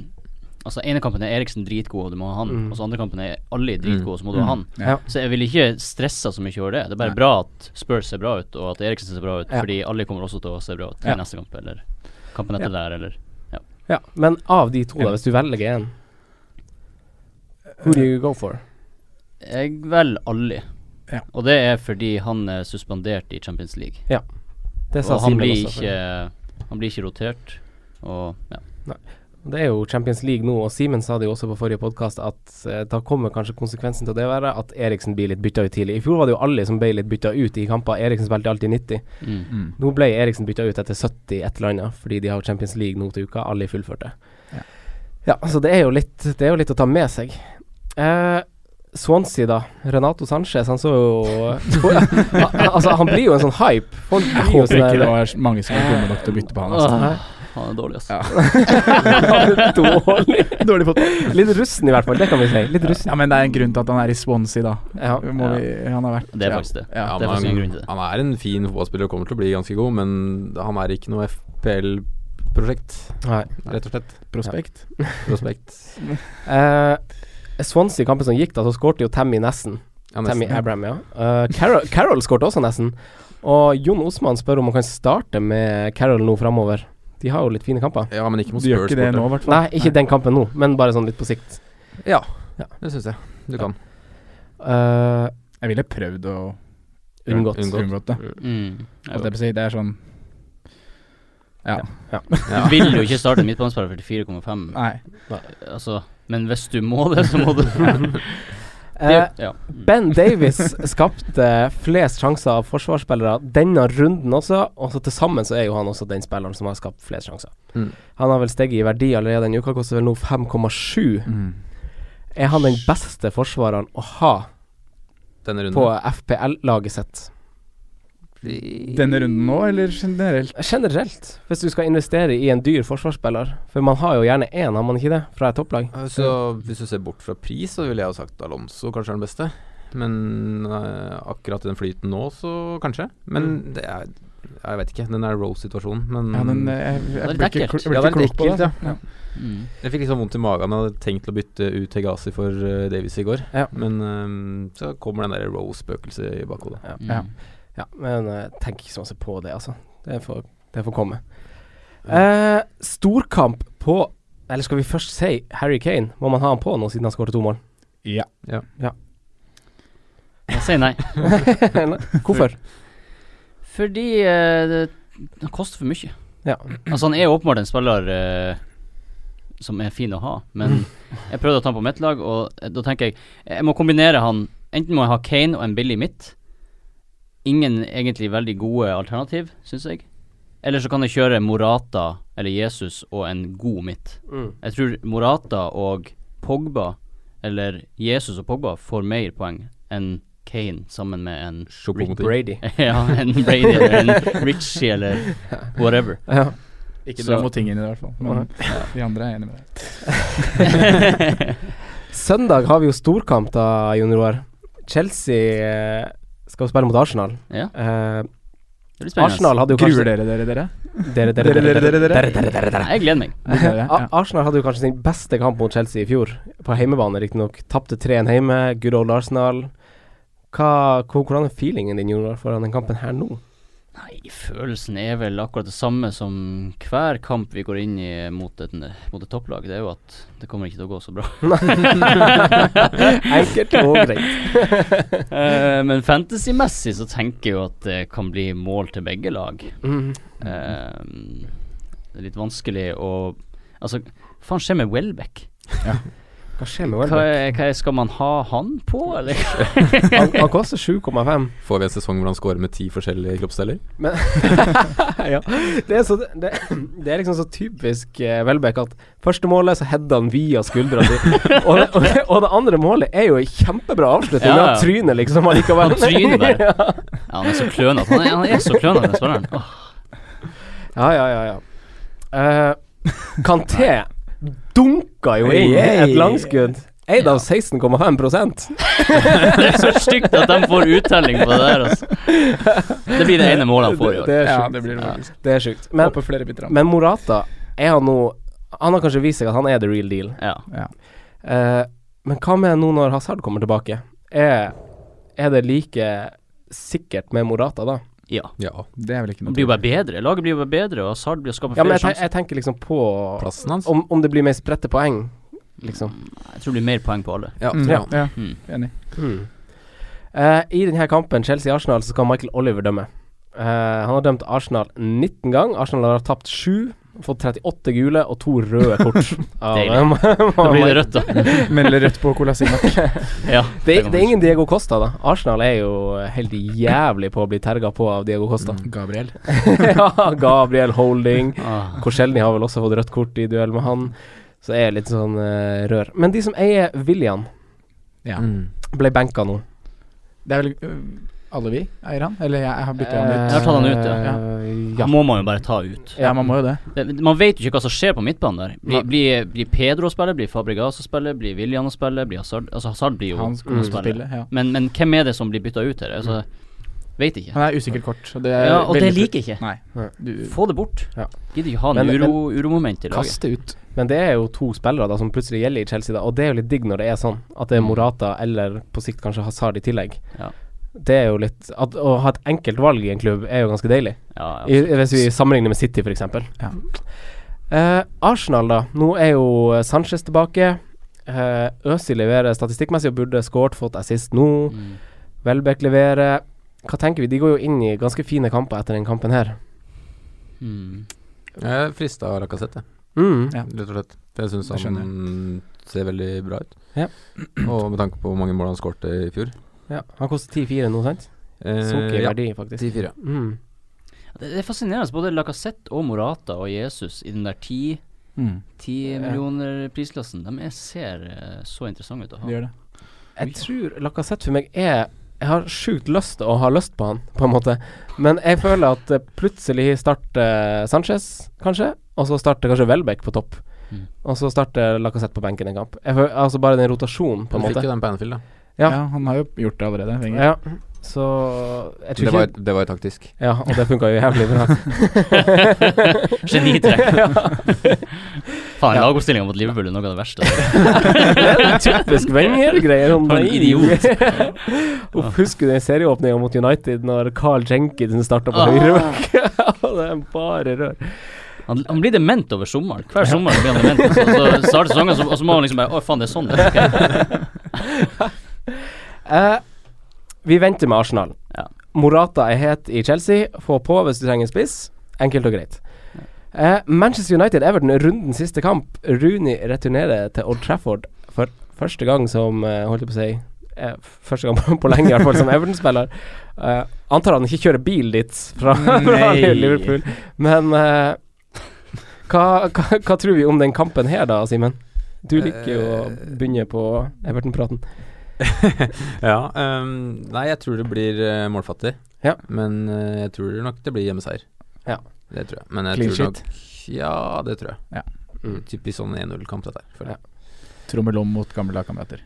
D: Altså ene kampen er Eriksen dritgod, og du må ha han.
C: Mm.
D: Og så andre kampen er Ali dritgod, og så må du ha han.
E: Ja.
D: Så jeg ville ikke stressa så mye over det. Det er bare
E: Nei.
D: bra at Spurs ser bra ut, og at Eriksen ser bra ut,
C: Ja.
D: fordi Ali kommer også til å se bra ut i
E: Ja.
D: neste kamp, eller kampen etter der, eller
C: Ja, men av de to, da, hvis du velger en Who do you go for?
D: Jeg velger Ali.
E: Ja.
D: Og det er fordi han er suspendert i Champions League.
C: Det sa
D: Og han
C: Simen
D: blir,
C: også.
D: ikke, han blir ikke rotert. Og ja.
C: Det er jo Champions League nå, og Simen sa det jo også på forrige podkast at eh, da kommer kanskje konsekvensen til det å være at Eriksen blir litt bytta ut tidlig. I fjor var det jo alle som ble litt bytta ut i kamper. Eriksen spilte alltid 90.
D: Mm.
E: Mm.
C: Nå ble Eriksen bytta ut etter 70 et eller annet, fordi de har Champions League nå til uka. Alle altså, fullførte. Ja, så det er jo litt, det er jo litt å ta med seg. Eh, Swansea, da. Renato Sanchez, han så jo Al- Altså, han blir jo en sånn hype. Folk
E: Jeg
C: blir jo
E: håper
C: sånn
E: ikke det
C: der
E: var mange som var dumme nok til å bytte på han. Altså.
D: Åh, Han er dårlig, ass.
E: Ja.
C: Dårlig. Litt russen, i hvert fall. Det kan vi si. Litt russen.
E: Ja, men det er en grunn til at han er i Swansea, da.
C: Ja.
E: Må vi, han har vært
D: Det er faktisk det.
E: Ja.
D: det er faktisk en grunn til det.
A: han er en fin fotballspiller og kommer til å bli ganske god, men han er ikke noe FPL-prosjekt,
C: Nei.
A: rett og slett.
E: Prospekt.
A: Prospekt.
C: Eh, Swansea-kampen som gikk, da, så skårte jo Tammy Nessen.
A: Ja, nesten.
C: Tammy Abraham, ja. Eh, Carol, Carol skårte også nesten. Og Jon Osman spør om han kan starte med Carol nå framover. De har jo litt fine kamper.
A: ja, men ikke mot
E: Du gjør
A: Spurs.
E: ikke det nå,
A: borte.
E: i hvert fall.
C: Nei, ikke den kampen nå, men bare sånn litt på sikt.
A: Ja, det syns jeg. Du kan.
C: Eh,
E: Jeg ville prøvd å
C: unngått.
A: Unngått.
E: unngått det.
D: Mm.
E: Holdt jeg på å si, det er sånn Ja.
D: Du vil jo ikke starte en midtbanespiller for 4,5,
E: Nei.
D: altså, men hvis du må det, så må du
C: Eh,
D: ja.
C: ben Davies skapte flest sjanser av forsvarsspillere denne runden også, og så til sammen så er jo han også den spilleren som har skapt flest sjanser.
A: Mm.
C: Han har vel steget i verdi allerede denne uka, koster vel nå 5,7. Er han den beste forsvareren å ha
A: Denne runden.
C: på FPL-laget sitt?
E: Denne runden nå, eller generelt?
C: Generelt, hvis du skal investere i en dyr forsvarsspiller, for man har jo gjerne én, har man ikke det, fra et topplag?
E: Eh,
A: Så hvis du ser bort fra pris, så ville jeg jo sagt Alonso kanskje er den beste. Men eh, akkurat i den flyten nå, så kanskje. Men det er Jeg vet ikke. Den er Rose-situasjonen, men
E: Mm. Ja, den eh, Jeg, jeg,
D: Det er
E: blir
D: litt
E: ikke
D: ekkelt.
E: kl- jeg blir
A: Mm. Ja, det er
E: ikke
A: litt
E: klok på det.
A: ekkelt,
E: Ja.
D: Mm.
A: Jeg fikk liksom vondt i magen. Jeg hadde tenkt å bytte ut Hegasi for eh, Davies i går.
C: Ja.
A: Men eh, så kommer den der Rose-spøkelset i bakhodet.
E: Ja.
D: Mm.
C: Ja, men eh, tenk ikke så mye på det, altså. Det får, det får komme. Eh, storkamp på Eller skal vi først si Harry Kane? Må man ha han på nå siden han skåret to mål?
E: Ja.
D: Jeg sier nei.
C: Nei, Hvorfor?
D: Fordi eh, det, det koster for mye.
C: Ja.
D: Altså, han er åpenbart en spiller eh, som er fin å ha, men jeg prøvde å ta han på mitt lag, og eh, da tenker jeg Jeg må kombinere han Enten må jeg ha Kane og en billig midt. Ingen egentlig veldig gode alternativ, syns jeg. Eller så kan jeg kjøre Morata eller Jesus og en god midt.
C: Mm.
D: Jeg tror Morata og Pogba, eller Jesus og Pogba, får mer poeng enn Kane sammen med en
A: Choupo-Moting.
C: Brady.
D: ja, en Brady eller en Richie eller whatever.
C: Ja.
E: Ikke
D: Så-
E: dra mot tingene i hvert fall. Men de andre er enig med deg.
C: Søndag har vi jo storkamp, da, Jon Roar. Chelsea eh, skal jo spille mot Arsenal.
D: Ja,
C: Eh,
D: det blir spennende.
C: Arsenal hadde jo
E: Gruer
C: kanskje
E: dere dere, dere?
C: Dere, dere, dere, dere, dere, dere, dere, dere, dere.
D: Jeg gleder meg.
E: Blir
C: A-
E: dere? Ja.
C: Arsenal hadde jo kanskje sin beste kamp mot Chelsea i fjor, på heimebane riktignok. Tapte 3-1 hjemme, good old Arsenal. Hva, hvor- hvordan er feelingen din Jonar, foran den kampen her nå?
D: Nei, følelsen er vel akkurat det samme som hver kamp vi går inn i mot et, mot et topplag. Det er jo at det kommer ikke til å gå så bra.
C: Enkelt og greit.
D: Eh, men fantasymessig så tenker jeg jo at det kan bli mål til begge lag.
C: Mm.
D: Eh, det er litt vanskelig å Altså, hva faen skjer med Welbeck?
C: Hva skjer med
D: Hva,
C: Welbeck?
D: er- hva er- skal man ha han på, eller?
C: Han, han koster 7,5.
A: Får vi en sesong hvor han scorer med ti forskjellige kroppsdeler?
C: ja. det, er så, det, det er liksom så typisk eh, Welbeck at første målet så header han via skuldra si, og, det- og, det- og det andre målet er jo en kjempebra avslutning,
D: Ja,
C: men
D: ja.
C: han tryner liksom allikevel.
D: Han tryner bare. Ja, han er så klønete. Han, er- han er så klønete, den spilleren. Åh.
C: Ja, ja, ja, ja. Eh, Kanté dunka jo inn et langskudd. Eid av 16,5
D: Det er så stygt at de får uttelling på det der, altså. Det blir det ene målet han får i år.
C: Det er
E: ja,
C: sjukt.
E: det blir det faktisk.
C: Det er sjukt. Men,
E: Håper flere bytter ham.
C: men Morata, er han nå Han har kanskje vist seg at han er the real deal.
D: Ja.
C: Eh, men hva med nå når Hazard kommer tilbake? Er, er det like sikkert med Morata da?
D: ja.
A: Ja.
E: Det er vel ikke
D: Han
E: noe
D: blir jo bare bedre. Laget blir jo bare bedre, og Hazard blir å skape
C: Ja, men
D: flere
C: jeg, ten-
D: sjanser.
C: jeg tenker liksom på
A: Plassen hans?
C: om, om det blir mer spredte poeng, liksom.
D: Jeg tror det blir mer poeng på alle.
A: Ja.
E: Mm,
A: tror
E: ja,
A: jeg.
E: ja.
D: Mm.
E: Enig.
C: Eh, I denne kampen, Chelsea-Arsenal, så skal Michael Oliver dømme. Eh, han har dømt Arsenal 19 ganger. Arsenal har tapt 7, fått 38 gule og to røde kort. Av-
D: Deilig. Da blir det rødt, da.
E: Melder rødt på Colasinac.
D: Ja,
C: det,
D: kan
C: det er
D: man si.
C: ingen Diego Costa, da. Arsenal er jo eh, helt jævlig på å bli terga på av Diego Costa.
D: Mm.
E: Gabriel.
C: ja, Gabriel Holding.
D: Ah.
C: Korselny har vel også fått rødt kort i duell med han. Så det er litt sånn eh, rør. Men de som eier William,
E: Ja.
A: Mm.
C: Ble benka nå.
E: Det er vel øh, alle vi eier han? Eller jeg, jeg har bytta
C: Eh,
E: han
D: Jeg har
E: ut.
D: tatt han ut, ja.
C: Eh,
D: Da
C: ja.
D: må man jo bare ta ut.
E: Ja, man må jo det.
D: Det, man vet jo ikke hva som skjer på midtbanen der. Blir,
E: Nei.
D: blir, blir Pedro å spille, blir Fabregas å spille, blir William å spille, blir Hazard Altså, Hazard blir jo
E: Han
D: å
E: kommer til å
D: spille.
E: spille. Ja.
D: Men, men hvem er det som blir bytta ut her? Altså, Vet ikke.
E: Han er usikkert kort. Og det er
D: Ja, og det
E: veldig
D: liker jeg ikke.
E: Nei. Du,
D: Få det bort.
C: Ja.
D: Gidder ikke ha en
C: Men- men-
D: uro, uromoment i laget.
E: kast det ut.
C: Men det er jo to spillere da som plutselig gjelder i Chelsea, da, og det er jo litt digg når det er sånn. At det er Morata eller på sikt kanskje Hazard i tillegg.
D: Ja.
C: Det er jo litt at, Å ha et enkelt valg i en klubb er jo ganske deilig.
D: Ja, ja.
C: I, hvis vi sammenligner med City, f.eks.
E: Ja.
C: Eh, Arsenal, da. Nå er jo eh, Sanchez tilbake. Uh, Øsi leverer statistikkmessig og burde skåret, fått assist nå.
D: Mm.
C: Welbeck leverer. Hva tenker vi? De går jo inn i ganske fine kamper etter den kampen her.
D: Mm.
A: Jeg frista Lacassette,
C: Mm.
E: Ja.
A: rett og slett. Jeg syns
E: Det
A: han ser veldig bra ut.
C: Ja.
A: Og med tanke på hvor mange mål han skårte i fjor.
C: Ja. Han koster 10-4 nå, sant?
A: Eh,
C: Sunket i
A: ja,
C: verdi, faktisk.
A: 10-4.
C: Mm.
D: Det, det er fascinerende. Både Lacassette og Morata og Jesus i den der ti
E: Mm,
D: Ti millioner prisklassen. De er, ser eh, så interessante ut å
E: det
D: ha.
E: gjør det.
C: Jeg tror Lacassette for meg er Jeg har sjukt lyst til å ha lyst på han, på en måte. Men jeg føler at eh, plutselig starter eh, Sanchez, kanskje. Og så starter kanskje Welbeck på topp.
D: Mm.
C: Og så starter Lacassette på benken en kamp. Jeg føler, altså bare den rotasjonen, på
A: Han
C: en
A: fikk
C: måte.
A: jo den på Anfield, da.
E: Ja.
C: Ja.
E: han har jo gjort det allerede. Wenger.
C: Ja, så jeg
A: Det
C: tror ikke
A: var, det var jo taktisk.
C: Ja, og det funka jo jævlig bra.
D: Genitrekk.
C: ja.
D: Faen,
C: Ja.
D: lagoppstillinga mot Liverpool er noe av det verste.
C: Det er en typisk Wenger-greier. Han
D: For en
C: nei.
D: idiot.
C: Uff, husker du den serieåpninga mot United når Carl Jenkinson starta på
D: Ah.
C: høyreback? Og det er bare rør.
D: Han, han blir dement over sommeren. Hver sommer blir han dement. Så, så starter sesongen, så, og så må han liksom bare Å, faen, det er sånn. det er, ok».
C: Eh, vi venter med Arsenal.
D: Ja.
C: Morata er het i Chelsea. Få på hvis du trenger en spiss. Enkelt og greit. Eh, Manchester United-Everton er rundens siste kamp. Rooney returnerer til Old Trafford for første gang som eh, Holdt jeg på å si eh, f- Første gang på, på lenge, i hvert fall, som Everton-spiller. Eh, antar han ikke kjører bil dit fra, fra
E: Nei.
C: Liverpool. Men eh, hva, hva, hva tror vi om den kampen her, da, Simen? Du liker jo å begynne på Everton-praten.
A: Ja, ehm, nei, jeg tror det blir eh, målfattig.
C: Ja.
A: Men eh, jeg tror nok det blir hjemmeseier.
C: Ja.
A: Det tror jeg. Men jeg
E: Clean
A: tror nok Ja, det tror jeg.
E: Ja.
C: Mm.
A: Typisk sånn 1-0-kamp, dette her. føler jeg.
E: Trommel om mot gamle lagkamerater.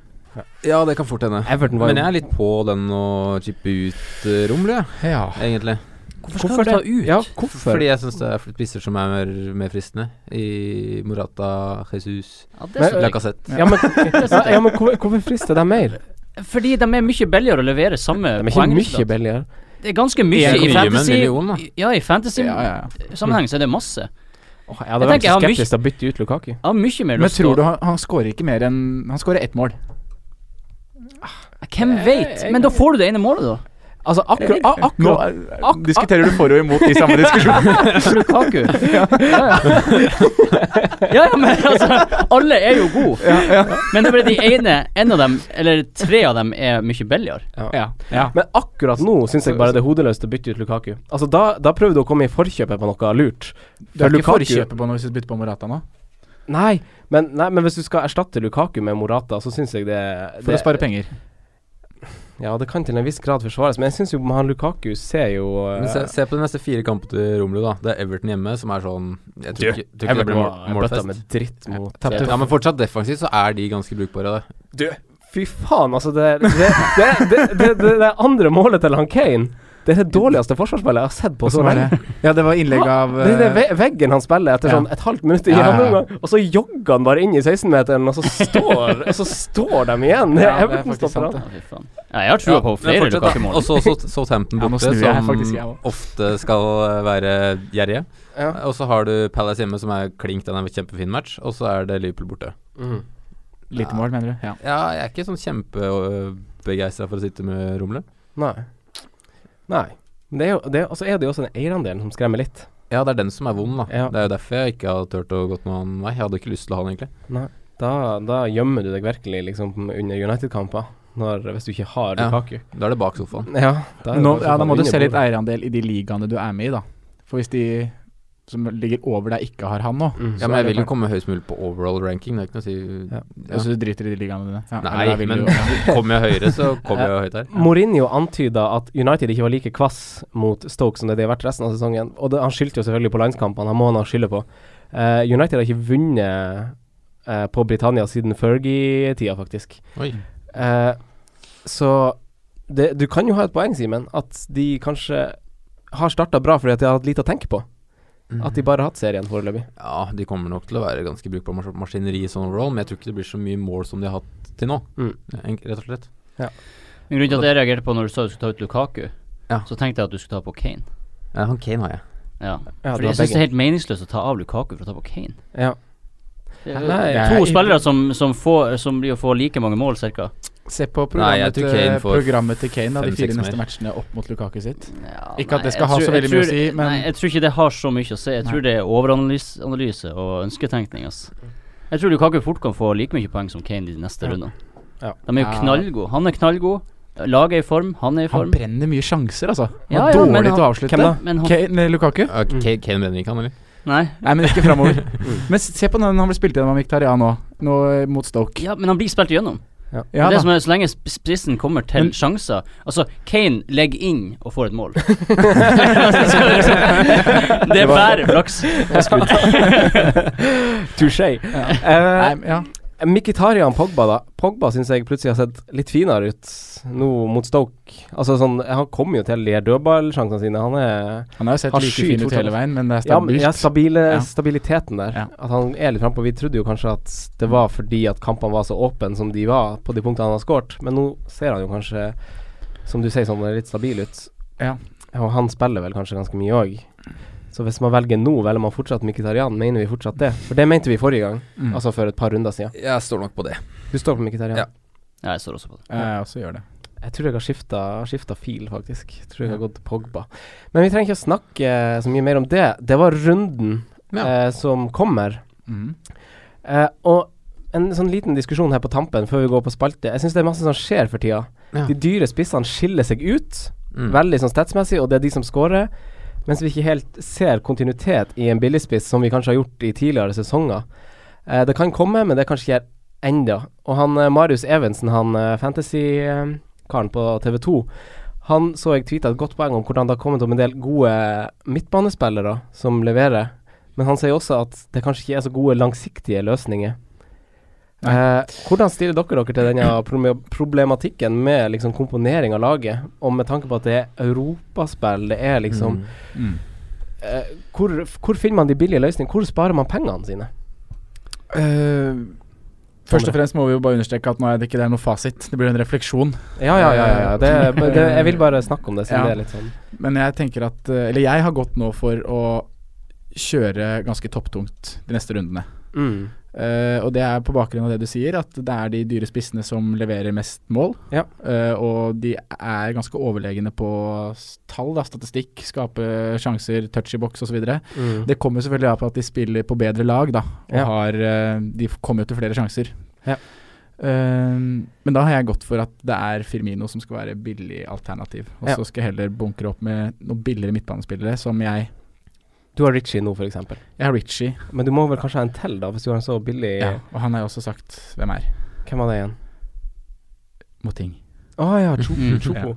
A: Ja, det kan fort hende.
C: Everton var
A: Men
C: jo
A: jeg er litt på den å chippe ut uh, Romelu, jeg,
E: Ja.
A: egentlig.
D: Hvorfor skal han ta ut?
C: Ja, hvorfor?
A: Fordi jeg syns det er spisser som er mer, mer fristende. I Morata, Jesus,
D: Ja, det er så,
A: Lacassette.
C: ja, men, ja, ja, men hvor- hvorfor frister de mer?
D: fordi de er mye billigere å levere samme
C: De er ikke
D: poeng.
C: mye billigere.
D: Det er ganske
A: Det
D: mye
A: er
D: i
A: mye, men
D: fantasy.
A: million, da.
D: Ja, i fantasy
E: Ja, ja, ja.
D: sammenheng så er det masse.
C: Åh, jeg hadde
D: Jeg
C: vært
D: tenker jeg
C: så
D: har
C: skeptisk til å bytte ut Lukaku.
D: Jeg har mye mer
E: Men
D: lyst til
E: tror
D: å
E: du han, han skårer ikke mer enn Han skårer ett mål.
D: Hvem vet? Men da får du det ene målet, da.
C: Altså, akkurat, a-
E: Nå
C: akkurat
E: eh, diskuterer du for og imot i samme diskusjon.
D: Lukaku. Ja, ja. ja, ja, men altså Alle er jo gode. Men det er bare de ene En av dem, eller tre av dem, er mye billigere.
E: ja. ja.
C: Men akkurat nå syns jeg bare det er hodeløst å bytte ut Lukaku. Altså, da, da prøver du å komme i forkjøpet på noe lurt.
E: Du er ikke
C: Lukaku-
E: forkjøpet på noe hvis du bytter på Morata nå?
C: Nei men, nei, men hvis du skal erstatte Lukaku med Morata, så syns jeg det, det
E: For å spare penger.
C: Ja, det kan til en viss grad forsvares, men jeg syns jo han Lukaku ser jo eh,
A: Men se, se på de neste fire kampene til Romelu, da. Det er Everton hjemme, som er sånn Jeg tror ikke, tror ikke det
C: Everton
A: blir mål,
C: var bøtta
A: målfest.
C: med dritt mot
E: Tapte
A: Ja, men fortsatt defensivt så er de ganske brukbare, det.
C: Fy faen, altså. Det, det, det, det, det, det, det andre målet til han Kane Det er det dårligste forsvarsspillet jeg har sett på så
E: Hvordan var
C: lenge.
E: det? Ja, det var innlegg av
C: Det er det
E: eh,
C: ve veggen han spiller etter
E: Ja.
C: sånn et halvt minutt i
E: Ja, ja,
C: andre
E: ja.
C: omgang, og så jogger han bare inn i 16-meteren, og så står Og så står de igjen!
E: Ja, det er
C: Everton
E: faktisk
C: stopper
E: sant,
C: han.
D: Ja, fy faen. Ja, jeg har trua på flere Lukaku-mål.
A: Og så så- Southampton
E: Ja, nå
A: borte,
E: snur jeg
A: som
E: faktisk, jeg også.
A: ofte skal eh, være gjerrige.
C: Ja.
A: Og så har du Palace hjemme, som er klink, den er en kjempefin match. Og så er det Liverpool borte.
C: Mm.
E: Lite mål, mener du? Ja.
A: Ja, jeg er ikke sånn kjempebegeistra for å sitte med Romelu.
C: Nei. Nei. Men det er jo, det er, og så er det jo også den eierandelen som skremmer litt.
A: Ja, det er den som er vond, da.
C: Ja.
A: Det er jo derfor jeg ikke har turt å gått noen annen vei. Jeg hadde ikke lyst til å ha den, egentlig.
C: Da, da gjemmer du deg virkelig liksom under United-kamper, når- hvis du ikke har
A: Ja.
C: Lukaku.
A: Da er det bak sofaen.
C: Ja, da er det
E: Nå,
C: bare sånn
E: ja, da
C: sofaen
E: må du
C: under
E: se litt
C: bordet.
E: eierandel i de ligaene du er med i, da. For hvis de som ligger over deg, ikke har han nå.
C: Mm.
A: Ja, men jeg vil jo komme høyest mulig på overall ranking, det er ikke noe å si
E: Ja.
A: Ja.
E: Så du driter i de ligaene dine? Ja,
A: Nei,
E: eller da vil
A: men
E: du jo-
A: kommer jeg høyere, så kommer jeg jo høyt her.
C: Mourinho antyda at United ikke var like kvass mot Stoke som det de har vært resten av sesongen. Og det, han skyldte jo selvfølgelig på landskampene, han må han ha skylda på. Eh, United har ikke vunnet eh, på Britannia siden Fergie-tida, faktisk.
A: Oi.
C: Eh, så det, du kan jo ha et poeng, Simen, at de kanskje har starta bra fordi at de har hatt lite å tenke på.
D: Mm.
C: Mm. At de bare har hatt serien foreløpig.
A: Ja, de kommer nok til å være ganske brukbare mas maskineri sånn overall, men jeg tror ikke det blir så mye mål som de har hatt til nå,
C: Mm.
A: enk- rett og slett.
D: Men Grunnen til at jeg reagerte på når du sa du skulle ta ut Lukaku,
A: Ja.
D: så tenkte jeg at du skulle ta på Kane.
A: Ja, han Kane har jeg.
D: Ja.
C: Ja,
D: Fordi jeg syns det er helt meningsløst å ta av Lukaku for å ta på Kane.
C: ja.
D: Det er jo
C: Nei,
D: to
E: jeg-
D: spillere som, som, får, som blir å få like mange mål, cirka.
E: Se på
A: Nei, jeg
E: programmet,
A: tror
E: til,
A: Kane får
E: programmet til Kane, da, de
A: fem-seks
E: fire neste
A: mer.
E: matchene opp mot Lukaku sitt.
D: Ja,
E: Ikke at det
D: jeg
E: skal ha så
D: tror-
E: veldig
D: jeg
E: mye å
D: tror-
E: si, men-
D: Nei, jeg tror ikke det har så mye å si. Jeg tror det er overanalyse og ønsketenkning. Ass. Jeg tror Lukaku fort kan få like mye poeng som Kane de neste
C: Ja.
D: rundene.
C: Ja.
D: De er jo
E: Ja.
D: knallgode. Han er knallgod. Laget er i form, han er i
E: Han
D: form.
E: brenner mye sjanser, altså. Han
D: Ja,
E: er
D: ja, men
E: dårlig til å
D: han-
E: avslutte.
C: Hvem da?
D: Men han
E: Kane, Lukaku?
A: Ja, Kane,
C: Mm.
A: Kane brenner ikke, han heller.
D: Nei.
E: Nei, men ikke framover. Mm. Men se på den han ble spilt gjennom av Mkhitaryan nå, nå eh, mot Stoke.
D: Ja, men han blir spilt igjennom.
E: Ja,
D: det
E: da.
D: som er, så lenge sp- spissen kommer til
E: Men-
D: sjanser Altså, Kane legger inn og får et mål. det
E: Det
D: er
E: var-
D: bare flaks.
C: Touché.
E: Nei,
C: Eh,
E: men ja.
C: Mkhitaryan Pogba, da. Pogba syns jeg plutselig har sett litt finere ut nå mot Stoke. Altså sånn, Han kommer jo til de her dødballsjansene sine. Han er
E: Han har jo sett
C: Han
E: like
C: skyter
E: fin ut
C: fortsatt.
E: hele veien, men det er
C: Ja, men
E: stabilt.
C: ja, stabile,
E: Ja.
C: stabiliteten der.
E: Ja.
C: At han er litt frampå. Vi trodde jo kanskje at det var fordi at kampene var så åpne som de var, på de punktene han har skåret, men nå ser han jo kanskje, som du sier, sånn litt stabil ut.
E: Ja.
C: Og han spiller vel kanskje ganske mye òg. Så hvis man velger nå, velger man fortsatt Mkhitaryan? Mener vi fortsatt det? For det mente vi forrige gang,
E: Mm.
C: altså for et par runder siden.
A: Jeg står nok på det.
C: Du står på Mkhitaryan.
A: Ja.
D: Ja, jeg står også på det.
E: Ja, jeg også Eh, gjør det.
C: Jeg tror jeg har skifta, skifta fil, faktisk. Jeg tror jeg har
E: Ja.
C: gått til Pogba. Men vi trenger ikke å snakke eh, så mye mer om det. Det var runden
E: Ja.
C: eh, som kommer.
E: Mm.
C: Eh, og en sånn liten diskusjon her på tampen før vi går på spalte. Jeg syns det er masse som skjer for tida.
A: Ja.
C: De dyre spissene skiller seg ut,
A: Mm.
C: veldig sånn statsmessig, og det er de som scorer. Mens vi ikke helt ser kontinuitet i en billigspiss, som vi kanskje har gjort i tidligere sesonger. Eh, det kan komme, men det kan ikke gjøre enda. Og han eh, Marius Evensen, han eh, fantasy-karen på TV 2, han så jeg tweeta et godt poeng om hvordan det har kommet om en del gode midtbanespillere som leverer. Men han sier også at det kanskje ikke er så gode langsiktige løsninger. Eh, hvordan stiller dere dere til denne problem- problematikken med liksom komponering av laget, og med tanke på at det er europaspill, det er liksom
A: Mm.
E: Mm.
C: eh, hvor, hvor finner man de billige løsningene? Hvor sparer man pengene sine?
E: Eh, først og fremst må vi jo bare understreke at nå er det ikke det er noe fasit, det blir en refleksjon.
C: Ja, ja, ja. ja, ja. Det, det, jeg vil bare snakke om det, siden
E: Ja.
C: det er litt sånn
E: Men jeg tenker at eh, Eller jeg har gått nå for å kjøre ganske topptungt de neste rundene.
C: mm.
E: Eh, og det er på bakgrunn av det du sier, at det er de dyre spissene som leverer mest mål.
C: Ja.
E: Eh, og de er ganske overlegne på s- tall, da, statistikk, skape sjanser, touch i boks osv.
C: Mm.
E: Det kommer selvfølgelig av på at de spiller på bedre lag, da. Og
C: Ja.
E: har, eh, de f- kommer jo til flere sjanser.
C: Ja.
E: Eh, men da har jeg gått for at det er Firmino som skal være billig alternativ. Og
C: Ja.
E: så skal jeg heller bunkre opp med noen billigere midtbanespillere, som jeg
C: Du har Ritchie nå, f.eks.
E: Jeg har Ritchie,
C: Men du må vel kanskje ha en til, da, hvis du har en så billig
E: ja. og han har jo også sagt hvem er
C: Hvem var det igjen?
E: mot ting.
C: Å ja, Chopo.
D: Mm.
C: Chopo.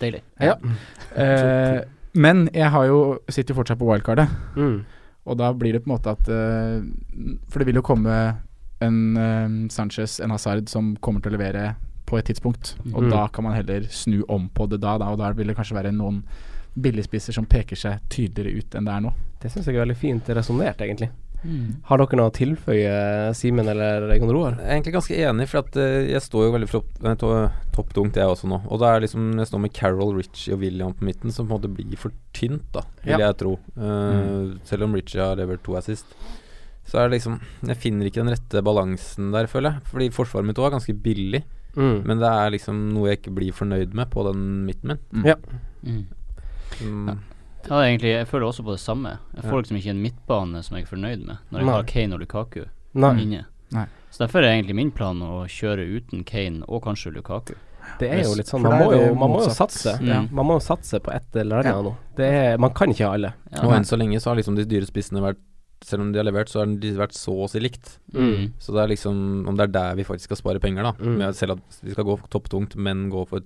D: Deilig.
E: Eh, men jeg har jo sitter jo fortsatt på wildcardet,
C: Mm.
E: og da blir det på en måte at eh, For det vil jo komme en eh, Sanchez, en Hazard, som kommer til å levere på et tidspunkt. Og
C: Mhm.
E: da kan man heller snu om på det da, da og da vil det kanskje være noen billigspisser som peker seg tydeligere ut enn det er nå.
C: Det syns jeg er veldig fint resonnert, egentlig. Har dere noe å tilføye, Simen eller Jon Roar?
A: Jeg er egentlig ganske enig, for at eh, jeg står jo veldig flott- eh, to- topptungt, jeg også nå. Og da er liksom jeg står med Carol, Ritchie og William på midten, som på en måte blir for tynt, da, vil jeg tro. Eh,
D: Mm.
A: Selv om Ritchie har levert to assist. Så er det liksom Jeg finner ikke den rette balansen der, føler jeg. Fordi forsvaret mitt òg er ganske billig,
C: Mm.
A: men det er liksom noe jeg ikke blir fornøyd med på den midten min.
D: Mm.
A: Mm.
D: Ja, det er egentlig, jeg føler også på det samme. Jeg får
A: Ja.
D: liksom ikke en midtbane som jeg er fornøyd med, når jeg
C: Nei.
D: har Kane og Lukaku
C: Nei.
A: Mm.
D: inne.
E: Nei.
D: Så derfor er egentlig min plan å kjøre uten Kane og kanskje Lukaku.
C: Det er jo
E: Yes.
C: litt sånn
E: For
C: Man
E: det er
C: må jo,
E: det
C: man må jo
E: motsatt.
C: satse.
A: Ja.
C: Man må jo satse på et eller annet
E: Ja.
C: nå. Det er, man kan ikke ha alle.
D: Ja.
A: Og enn så lenge så har liksom de dyre spissene vært Selv om de har levert, så har de vært så å si likt.
D: Mm.
A: Så det er liksom Om det er der vi faktisk skal spare penger, da.
C: Mm.
A: Med at Selv at vi skal gå topptungt, men gå for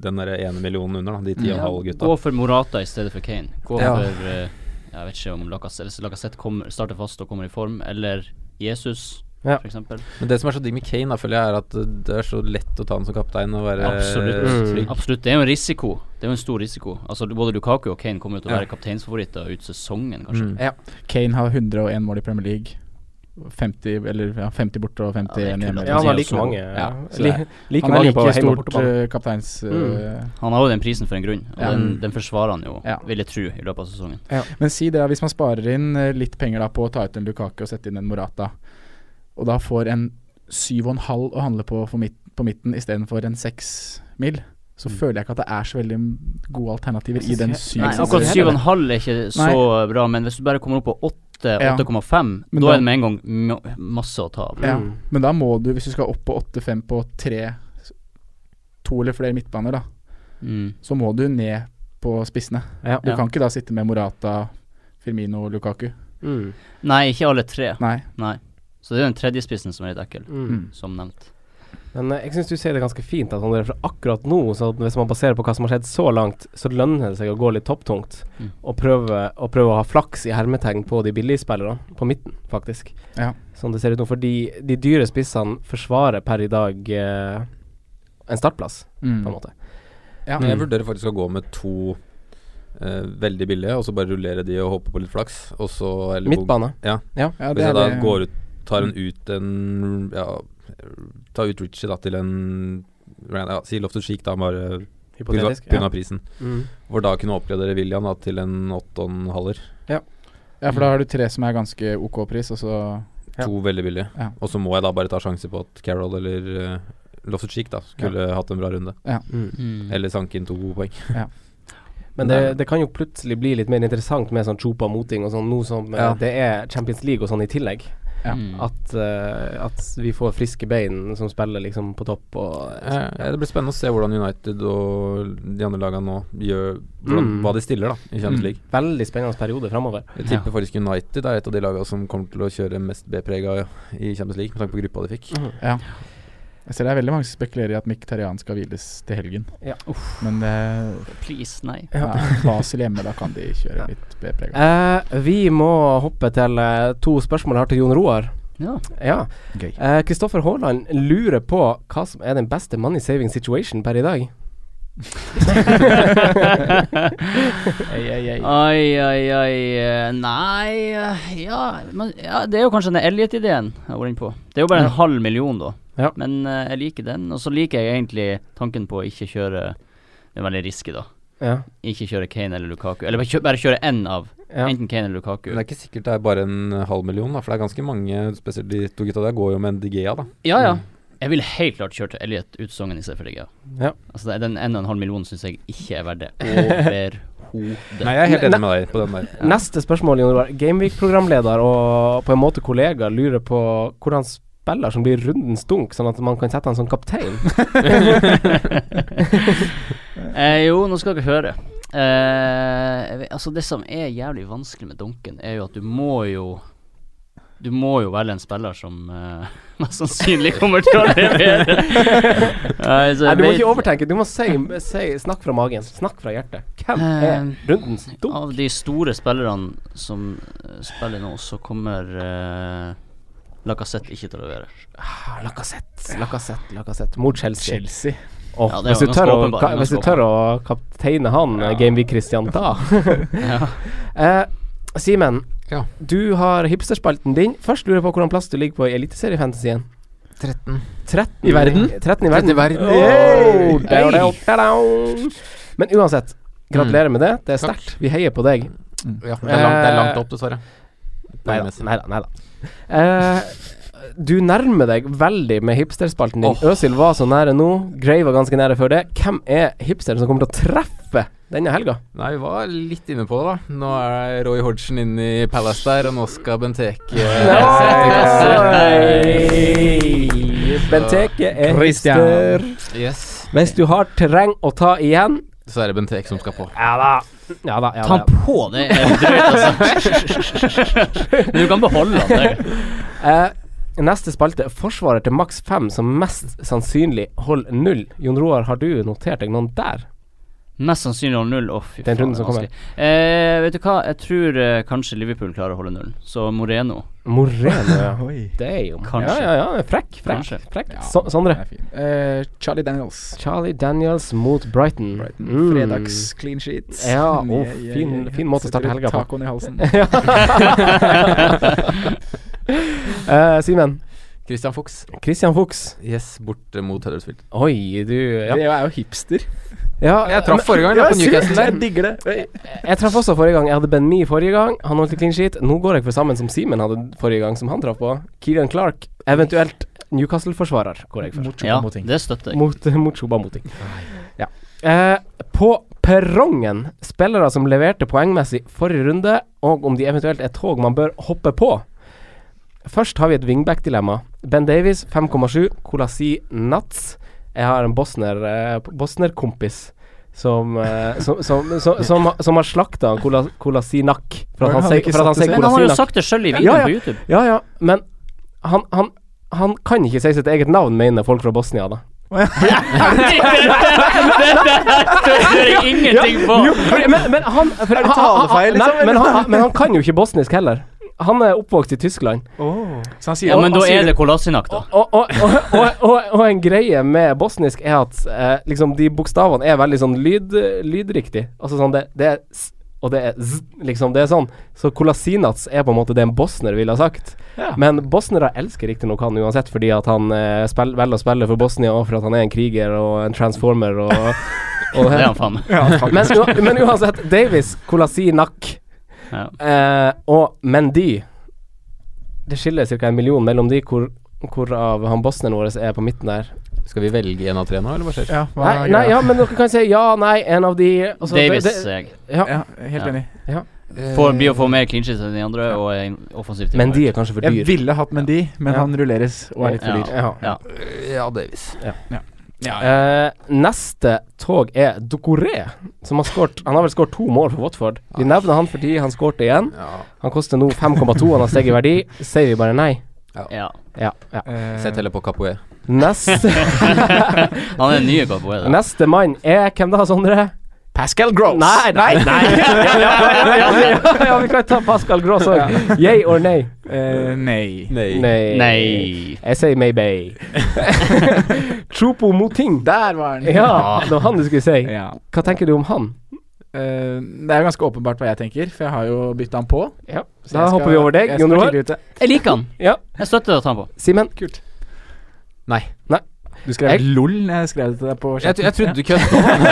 A: den derre ene millionen under, da. De ti og en
D: Ja,
A: halv gutta.
D: Gå for Morata i stedet for Kane. Gå
A: Ja.
D: for eh, Jeg vet ikke om Lacassette, Lacassette kommer, starter fast og kommer i form, eller Jesus,
C: Ja.
D: for eksempel
A: Men det som er så digg med Kane, da, føler jeg, er at det er så lett å ta han som kaptein og være
D: Absolutt.
C: Mm.
A: trygg.
D: Absolutt. Det er jo en risiko. Det er jo en stor risiko. Altså du- Både Lukaku og Kane kommer jo til
A: Ja.
D: å være kapteinsfavoritter ut sesongen, kanskje.
A: Mm.
E: Kane har 101 mål i Premier League. 50, eller, ja, 50 borte og 51
D: Ja, det er kult
E: hjemme.
D: at
C: Ja, han har like
D: så-
C: mange.
E: Ja, så
C: li,
E: det er-
C: like
E: han er
C: mange på
E: like
C: hjemme- og
E: stort
C: bortebane.
E: eh, kapteins... eh,
D: Han har jo den prisen for en grunn, og
E: Ja.
D: den, den forsvarer han jo,
E: Ja.
D: vil jeg tro, i løpet av sesongen.
E: Men si det, da, hvis man sparer inn eh, litt penger da på å ta ut en Lukaku og sette inn en Morata, og da får en 7,5 å handle på for midt, på midten istedenfor en 6 mil,
C: Mm.
E: så føler jeg ikke at det er så veldig gode alternativer i den 7
D: Nei, akkurat 7,5 er ikke så bra, men hvis du bare kommer opp på 8,
E: Ja.
D: 8,5,
E: Men
D: da
E: da-
D: er det med en gang ma- masse å ta av.
E: eh, Ja.
C: Mm.
E: Men da må du, hvis du skal opp på 8-5 på tre, to eller flere midtbaner, da,
D: Mm.
E: så må du ned på spissene.
C: Ja.
E: Du
D: Ja.
E: kan ikke da sitte med Morata, Firmino og Lukaku.
C: Mm.
D: Nei, ikke alle tre.
E: Nei.
D: Nei. Så det er den tredje spissen som er litt ekkel,
C: Mm.
D: som nevnt.
C: Men eh, jeg syns du sier det ganske fint, at han er fra akkurat nå. Så at hvis man baserer på hva som har skjedd så langt, så lønner det seg å gå litt topptungt.
D: Mm.
C: Og prøve, og prøve å ha flaks i hermetegn på de billige spillerne, på midten, faktisk.
E: Ja.
C: Som det ser ut nå. Fordi de dyre spissene forsvarer per i dag eh, en startplass,
E: Mm.
C: på en måte. Mm.
E: Ja.
A: Men jeg vurderer faktisk å gå med to eh, veldig billige, og så bare rullere de og håpe på litt flaks. Og så eller hvor-
C: Midtbane.
E: Ja, det
A: Hvis
E: er
A: jeg da
E: det-
A: går ut Tar en ut en Ja, tar ut Richie da til en ja, Si Loftus Cheek, da, bare pga.
C: Hypotetisk.
A: Ja. prisen.
C: Mm.
A: Hvor da kunne oppgradere William da, til en åtte og en halver.
E: Ja, for da har du tre som er ganske ok pris, og så
C: Ja.
A: To veldig billige.
E: Ja.
A: Og så må jeg da bare ta sjanse på at Carol eller uh, Loftus Cheek da skulle hatt en bra runde.
C: Mm.
A: Eller sanke inn to gode poeng.
C: Men det, det kan jo plutselig bli litt mer interessant med sånn chopa moting og sånn, nå som eh,
A: Ja.
C: det er Champions League og sånn i tillegg.
E: Ja.
D: Mm.
C: At, eh, at vi får friske bein som spiller liksom på topp og
A: Eh, ja, det blir spennende å se hvordan United og de andre lagene nå gjør hvordan,
C: Mm.
A: Hva de stiller da i Champions
E: Mm.
A: League.
C: Veldig spennende periode framover.
A: Jeg tipper faktisk United er et av de lagene som kommer til å kjøre mest B-prega i Champions League, med tanke på gruppa de fikk.
E: Jeg ser det er veldig mange som spekulerer i at Mkhitaryan skal hviles til helgen.
C: Ja.
E: Men eh,
D: Please, nei.
E: ja, Basel hjemme, da kan de kjøre
C: Ja.
E: litt B-preg.
C: Eh, vi må hoppe til eh, to spørsmål her til Jon Roar.
D: Ja.
C: Ja.
E: Gøy.
C: Eh, Kristoffer Haaland lurer på hva som er den beste money saving situation per i dag.
D: Ai, ai, ai. eh, Nei eh, Ja, men, ja det er jo kanskje den Elliot-ideen jeg var inne på. Det er jo bare en halv million, da.
C: Ja.
D: Men eh, jeg liker den. Og så liker jeg egentlig tanken på å ikke kjøre Det er veldig risky, da.
C: Ja.
D: Ikke kjøre Kane eller Lukaku. Eller bare kjø- bare kjøre én av.
C: Ja.
D: Enten Kane eller Lukaku.
A: Men det er ikke sikkert det er bare en halv million, da, for det er ganske mange, spesielt de to gutta der, går jo med en DGA, da.
D: Ja,
C: Mm.
D: ja. Jeg ville helt klart kjørt Elliot ut sesongen i stedet for Digga.
C: Ja.
D: Altså, det- den 1,5 millionen syns jeg ikke er verdt det. Overhodet.
A: Nei, jeg er helt enig med deg på den der.
C: Neste spørsmål, Jon Roar. Gameweek-programleder og på en måte kollega lurer på hvordan spiller som blir rundens dunk, sånn at man kan sette han som kaptein.
D: eh, jo, nå skal dere høre. Eh, jeg vet- altså Det som er jævlig vanskelig med dunken, er jo at du må jo Du må jo velge en spiller som eh, mest sannsynlig kommer til å levere. Eh, så
C: Nei,
D: jeg
C: du må
D: vet-
C: ikke overtenke, du må si, si Snakk fra magen. Snakk fra hjertet. Hvem er
D: Eh,
C: rundens dunk?
D: Av de store spillerne som eh, spiller nå, så kommer eh, Lacassette ikke til å levere.
C: Ah, Lacassette, Lacassette, Lacassette. Mot Chelsea.
E: Chelsea.
C: Åh,
D: Ja, det er
C: hvis du
D: ganske
C: tør, å,
D: åpenbar,
C: ka, hvis
D: ganske
C: du tør å kapteine han, ja. Gameweek-Christian, da
D: Ja.
C: eh, Simen,
A: Ja.
C: du har hipsterspalten din. Først lurer jeg på hvilken plass du ligger på i Eliteseriefantasien.
A: 13.
C: 13
E: I verden?
C: 13 i verden.
A: i verden.
C: Wow,
E: Hey.
C: der, der, der, der. Men uansett, gratulerer med det. Det er
A: Takk.
C: sterkt. Vi heier på deg.
A: Ja, Eh, det er langt, det er langt opp, dessverre.
C: Nei da,
A: Poengmessig.
C: nei da. Nei da. Eh, du nærmer deg veldig med hipsterspalten din.
A: Åh.
C: Øsil var så nære nå. Grey var ganske nære før det. Hvem er hipsteren som kommer til å treffe denne helga?
A: Nei, vi var litt inne på det, da. Nå er Roy Hodgson inne i Palace der, og nå skal Benteke sette i kasse.
C: Benteke er
E: Christian.
C: hipster.
A: Yes.
C: Hvis du har terreng å ta igjen
A: Så er det Bentek som skal på.
C: Ja da. Ja da, ja
D: Ta
C: da.
D: han på, det er drøyt, altså. Men du kan beholde han. det.
C: Eh, neste spalte. Forsvarer til maks fem som mest sannsynlig holder null. Jon Roar, har du notert deg noen der?
D: Mest sannsynlig holde null. Å, fy
C: Den runden
D: det
C: som
D: er vanskelig. Eh, vet du hva, jeg tror eh, kanskje Liverpool klarer å holde nullen. Så Moreno.
C: Moreno, ja.
E: Oi.
C: Damn.
D: Kanskje.
C: Ja, ja, ja. Frekk, frekk.
D: Kanskje.
C: frekk.
E: Ja,
C: So
E: den
C: Sondre.
E: er fin. Eh, Charlie Daniels.
C: Charlie Daniels mot Brighton.
E: Brighton.
C: Mm.
E: Fredags clean sheet.
C: Ja, å,
E: Yeah, yeah,
C: fin-
E: yeah, yeah.
C: fin måte å starte
E: Setter
C: helga på.
E: Tacoen i halsen.
C: Eh, Simen.
A: Christian Fuchs.
C: Christian Fuchs.
A: Yes, bort eh, mot Huddersfield.
C: Oi, du Ja.
E: Det er jo hipster.
C: ja
A: Jeg traff forrige gang da, på Newcastle der.
E: Jeg digger det.
C: Jeg traff også forrige gang. Jeg hadde Ben Mee forrige gang. Han holdt i clean sheet. Nå går jeg for sammen som Simen hadde forrige gang, som han traff på. Kieran Clark, eventuelt Newcastle-forsvarer, går jeg for.
E: Mot
D: Ja,
E: Choupo-ting.
D: det støtter jeg.
C: Mot, mot Shoba Moting. Ja. Eh, på perrongen, spillere som leverte poengmessig forrige runde, og om de eventuelt er tog man bør hoppe på. Først har vi et wingback-dilemma. Ben Davies 5,7, Kolasi Nats. Jeg har en bosner eh, bosnerkompis som, eh, som, som, som, som, som har slakta Kolasinak for
E: Men
C: at han
E: han
C: sier
E: ikke
C: for at han
E: satt
C: sier
D: Men
E: seg.
D: han har jo
C: Kolasinak.
D: sagt det sjøl i
C: Ja,
D: videoen
C: ja.
D: på YouTube.
C: Ja, ja, men han, han, han kan ikke si sitt eget navn, mener folk fra Bosnia, da.
D: Det er det ingenting på!
C: Jo, fordi- men, men han for,
E: Er det
C: han- han-
E: talefeil, liksom,
C: Nei, men
E: eller?
C: han, men han kan jo ikke bosnisk heller. Han er oppvokst i Tyskland.
E: Så han sier
D: Ja, men da
E: han sier
D: er det Kolasinak, da.
C: Og, og, og, og, og, og en greie med bosnisk er at eh, liksom de bokstavene er veldig sånn lyd, lydriktig. Altså sånn det, det er s, og det er z, liksom. Det er sånn. Så kolasinac er på en måte det en bosner ville ha sagt.
E: Ja.
C: Men bosnere elsker riktignok han uansett, fordi at han eh, spill, velger å spille for Bosnia, og for at han er en kriger og en transformer og, og
D: Det er han faen meg.
C: men, u- men uansett, Davies, Kolasinak
D: Ja.
C: eh, og Mendy Det skiller ca. en million mellom de, hvor, hvorav han bosneren vår er på midten der.
A: Skal vi velge en av tre nå, eller hva skjer?
E: Ah, Ja, hva
C: Nei,
E: er
C: nei,
E: greia?
C: ja, men dere kan si ja, nei, en av de og så-
D: Davis
C: Altså, det-
D: sier jeg.
C: det- ja.
E: Ja, helt
D: Ja.
E: enig.
C: Eh,
D: Får, blir å få mer clean sheets enn de andre, og er offensivt.
C: Mendy er kanskje for
E: Jeg
C: dyr.
E: ville hatt Mendy, men
C: Ja.
E: han rulleres og er litt for dyr.
C: Ja.
D: Ja.
A: Ja, Davies.
E: Ja,
C: Eh, neste tog er Dokoré, som har skåret Han har vel skåret to mål for Watford. Vi nevner han fordi han skårte igjen.
A: Ja.
C: Han koster nå 5,2, han har steget i verdi. Sier vi bare nei?
D: Ja.
C: Ja. ja.
A: Eh.
E: Eh,
A: Sett heller på Capoe.
C: Neste
D: Han er nye Gaboe, da.
C: Neste mann er hvem da, Sondre?
E: Pascal Gross!
C: Nei, nei, nei. ja, ja, ja, ja, ja, ja, vi kan ta Pascal Gross òg. Yay or nay?
E: Eh, nei.
C: Nei.
D: Nei.
C: Jeg sier maybe. Chopo Moting.
E: Der var han!
C: Ja, det var han du skulle si.
E: Ja.
C: Hva tenker du om han?
E: Eh, det er jo ganske åpenbart hva jeg tenker, for jeg har jo bytta han på.
C: Ja,
E: Så
C: Da
E: jeg skal-
C: hopper vi over deg,
E: jeg skal
C: Jon Roar.
E: tidlig ute.
D: Jeg liker han.
C: Ja.
D: Jeg støtter å ta han på.
C: Simen.
E: Kult.
A: Nei.
E: Du skrev
C: Jeg-
E: LOL når jeg skrev det til deg på
A: Jeg,
E: chatten.
A: tro- jeg trodde du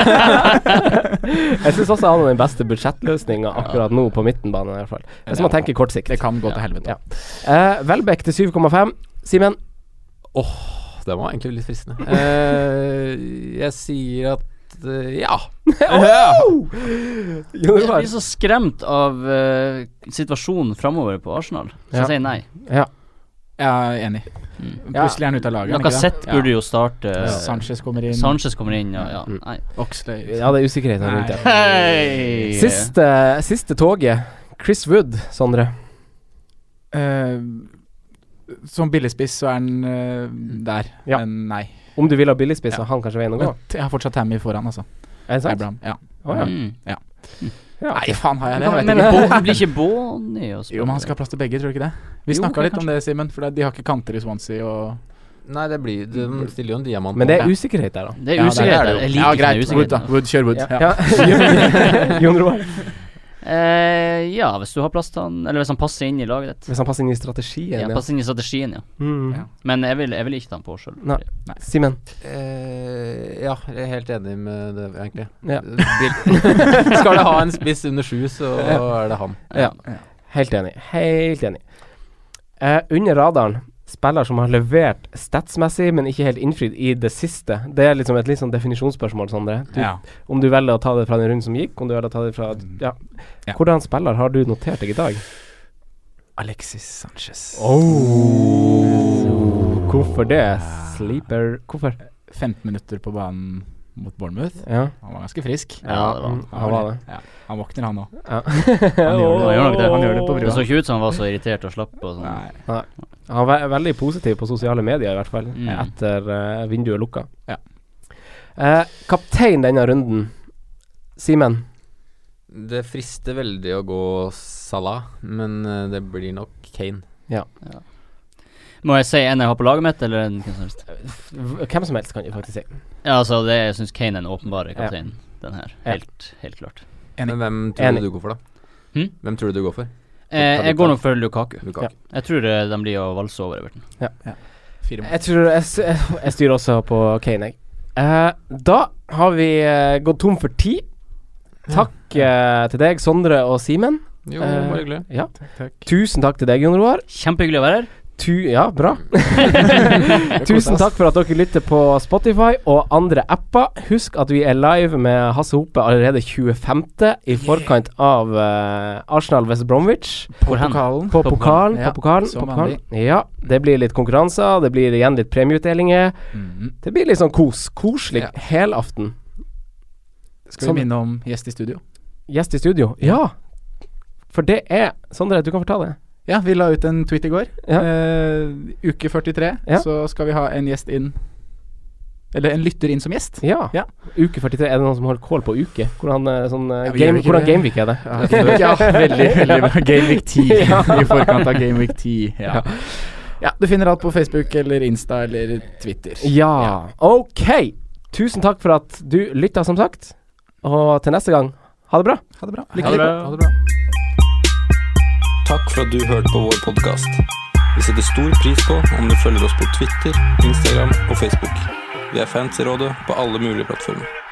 A: kødda.
C: Jeg syns også han har den beste budsjettløsninga akkurat nå, på midtenbanen i hvert fall. Hvis man tenker kort sikt.
E: Det kan gå til helvete.
C: Ja. Eh, Welbeck til 7,5. Simen.
A: Det var egentlig litt fristende. Eh, jeg sier at eh, ja.
C: Jon
D: Jeg
C: Roar.
D: blir så skremt av eh, situasjonen framover på Arsenal, så
C: Ja.
D: jeg sier nei.
E: Jeg er enig.
D: Mm.
E: Plutselig er han ute av laget. er han ikke det?
D: Lacassette burde jo starte. eh,
E: Ja. Sanchez kommer inn.
D: Sanchez kommer inn, ja. ja.
C: Mm.
D: Nei.
E: Oxlade.
C: Ja, det er usikkerhet her rundt det.
D: Hei!
C: Siste, siste toget. Chris Wood, Sondre.
E: Eh, som billigspiss så er han eh, der,
C: Ja.
E: men nei.
C: Om du vil ha billigspiss, så
E: Ja.
C: er han kanskje veien å gå.
E: Men jeg har fortsatt Tammy foran, altså.
C: Er det sant?
E: Abraham. Ja.
C: Å, ja.
D: Mm.
C: Ja,
E: Nei, faen har jeg det?
D: Men, men
E: Jeg vet ikke.
D: Bo- blir ikke Bonny å spille?
E: Jo, men han skal ha plass til begge, tror du ikke det? Vi
D: Jo,
E: snakka litt
D: kanskje.
E: om det, Simen, for det- de har ikke kanter i Swansea og
A: Nei, det blir Den stiller jo en diamant.
C: Men det
A: på.
C: er usikkerhet der, da.
D: Det er
E: Ja,
D: usikkerhet.
E: det er det jo.
D: jeg
E: Ja,
D: liker ikke den
E: greit. Wood, da.
D: usikkerheten.
E: Wood, kjør Wood. Ja.
C: Ja. Jon Roar.
D: Eh, ja, hvis du har plass til han Eller hvis han passer inn i laget ditt.
C: Hvis han passer inn i strategien,
D: Ja,
C: ja.
D: passer inn i strategien, ja.
C: Mm.
E: Ja.
D: Men jeg vil, jeg vil ikke ta han på sjøl.
C: Nei. Simen.
A: Eh, ja, jeg er helt enig med det, egentlig.
C: Ja.
A: Bil- Skal det ha en spiss under sju, så er det han.
C: Ja. Helt enig. Helt enig. Eh, under radaren, spiller som har levert statsmessig, men ikke helt innfridd i det siste. Det er liksom et litt sånn definisjonsspørsmål, Sondre. Du,
E: Ja.
C: Om du velger å ta det fra den runden som gikk, om du velger å ta det fra Ja.
E: Ja.
C: Hvordan spiller har du notert deg i dag?
E: Alexis Sanchez.
C: Oh. Hvorfor det? Sleeper Hvorfor?
E: 15 minutter på banen mot Bournemouth.
C: Ja,
E: Han var ganske frisk.
D: Ja, det var han.
C: mm, han var det.
E: Ja, han våkner, han òg.
C: Ja.
E: Han gjør det,
D: Han gjør nok det.
E: han gjør det på
D: Det
E: brua.
D: så ikke ut som han var så irritert og slapp. Og sånn.
E: Nei.
C: Han var veldig positiv på sosiale medier, i hvert fall,
D: Mm.
C: etter eh, vinduet lukka.
E: Ja.
C: Eh, kaptein denne runden, Simen.
A: Det frister veldig å gå Salah, men eh, det blir nok Kane.
D: Må jeg si en jeg har på laget mitt, eller en hvem som helst?
C: V- Hvem som helst, kan jeg faktisk si.
D: Ja, altså, det, jeg syns Kane er den åpenbare kapteinen. Den her.
C: Ja.
D: Helt, helt klart.
E: Enig.
A: Men hvem tror
C: Enig.
A: du du går for, da?
D: Hm?
A: Hvem tror du du går for?
D: Eh, jeg går nok for Lukaku.
A: Lukaku.
C: Ja.
D: Jeg tror eh, de blir å valse over Everton.
E: Fire mål.
C: Jeg tror jeg, s- jeg styrer også på Kane, jeg. Eh, da har vi eh, gått tom for tid. Takk eh, til deg, Sondre og Simen.
A: Jo,
C: Eh,
A: bare hyggelig.
C: Ja.
E: Takk, takk.
C: Tusen takk til deg, Jon Roar.
D: Kjempehyggelig å være her.
C: Tu ja, bra. Tusen takk for at dere lytter på Spotify og andre apper. Husk at vi er live med Hasse Hope allerede 25. i forkant av eh, Arsenal West Bromwich.
D: Hvor hen?
E: pokalen.
C: På pokalen,
E: Ja,
C: på pokalen,
E: som
C: på pokalen.
E: vanlig.
C: Ja, det blir litt konkurranser, det blir igjen litt premieutdelinger.
E: Mhm.
C: Det blir litt sånn kos. Koselig
E: Ja.
C: helaften.
E: Skal
C: Sånn.
E: vi minne om gjest i studio?
C: Gjest i studio. Ja! For det er Sondre, du kan fortelle.
E: Ja, vi la ut en tweet i går.
C: Ja.
E: Eh, uke 43,
C: Ja.
E: så skal vi ha en gjest inn Eller en lytter inn som gjest.
C: Ja.
E: Ja.
C: Uke 43. Er det noen som holder kål på uke? Hvordan, eh, sånn, eh,
E: Ja, vi gjør
C: game,
E: ikke
C: hvordan
E: det.
C: gameweek er det?
E: ja, veldig, veldig bra. Game Week 10.
C: Ja.
E: I forkant av Game Week 10. Ja. ja, du finner alt på Facebook eller Insta eller Twitter.
C: Ja. Ok. Tusen takk for at du lytta, som sagt. Og til neste gang, ha det bra.
E: Ha det bra.
D: Ha det bra.
E: Ha det bra.
B: Takk for at du hørte på vår podkast. Vi setter stor pris på om du følger oss på Twitter, Instagram og Facebook. Vi er fans i rådet på alle mulige plattformer.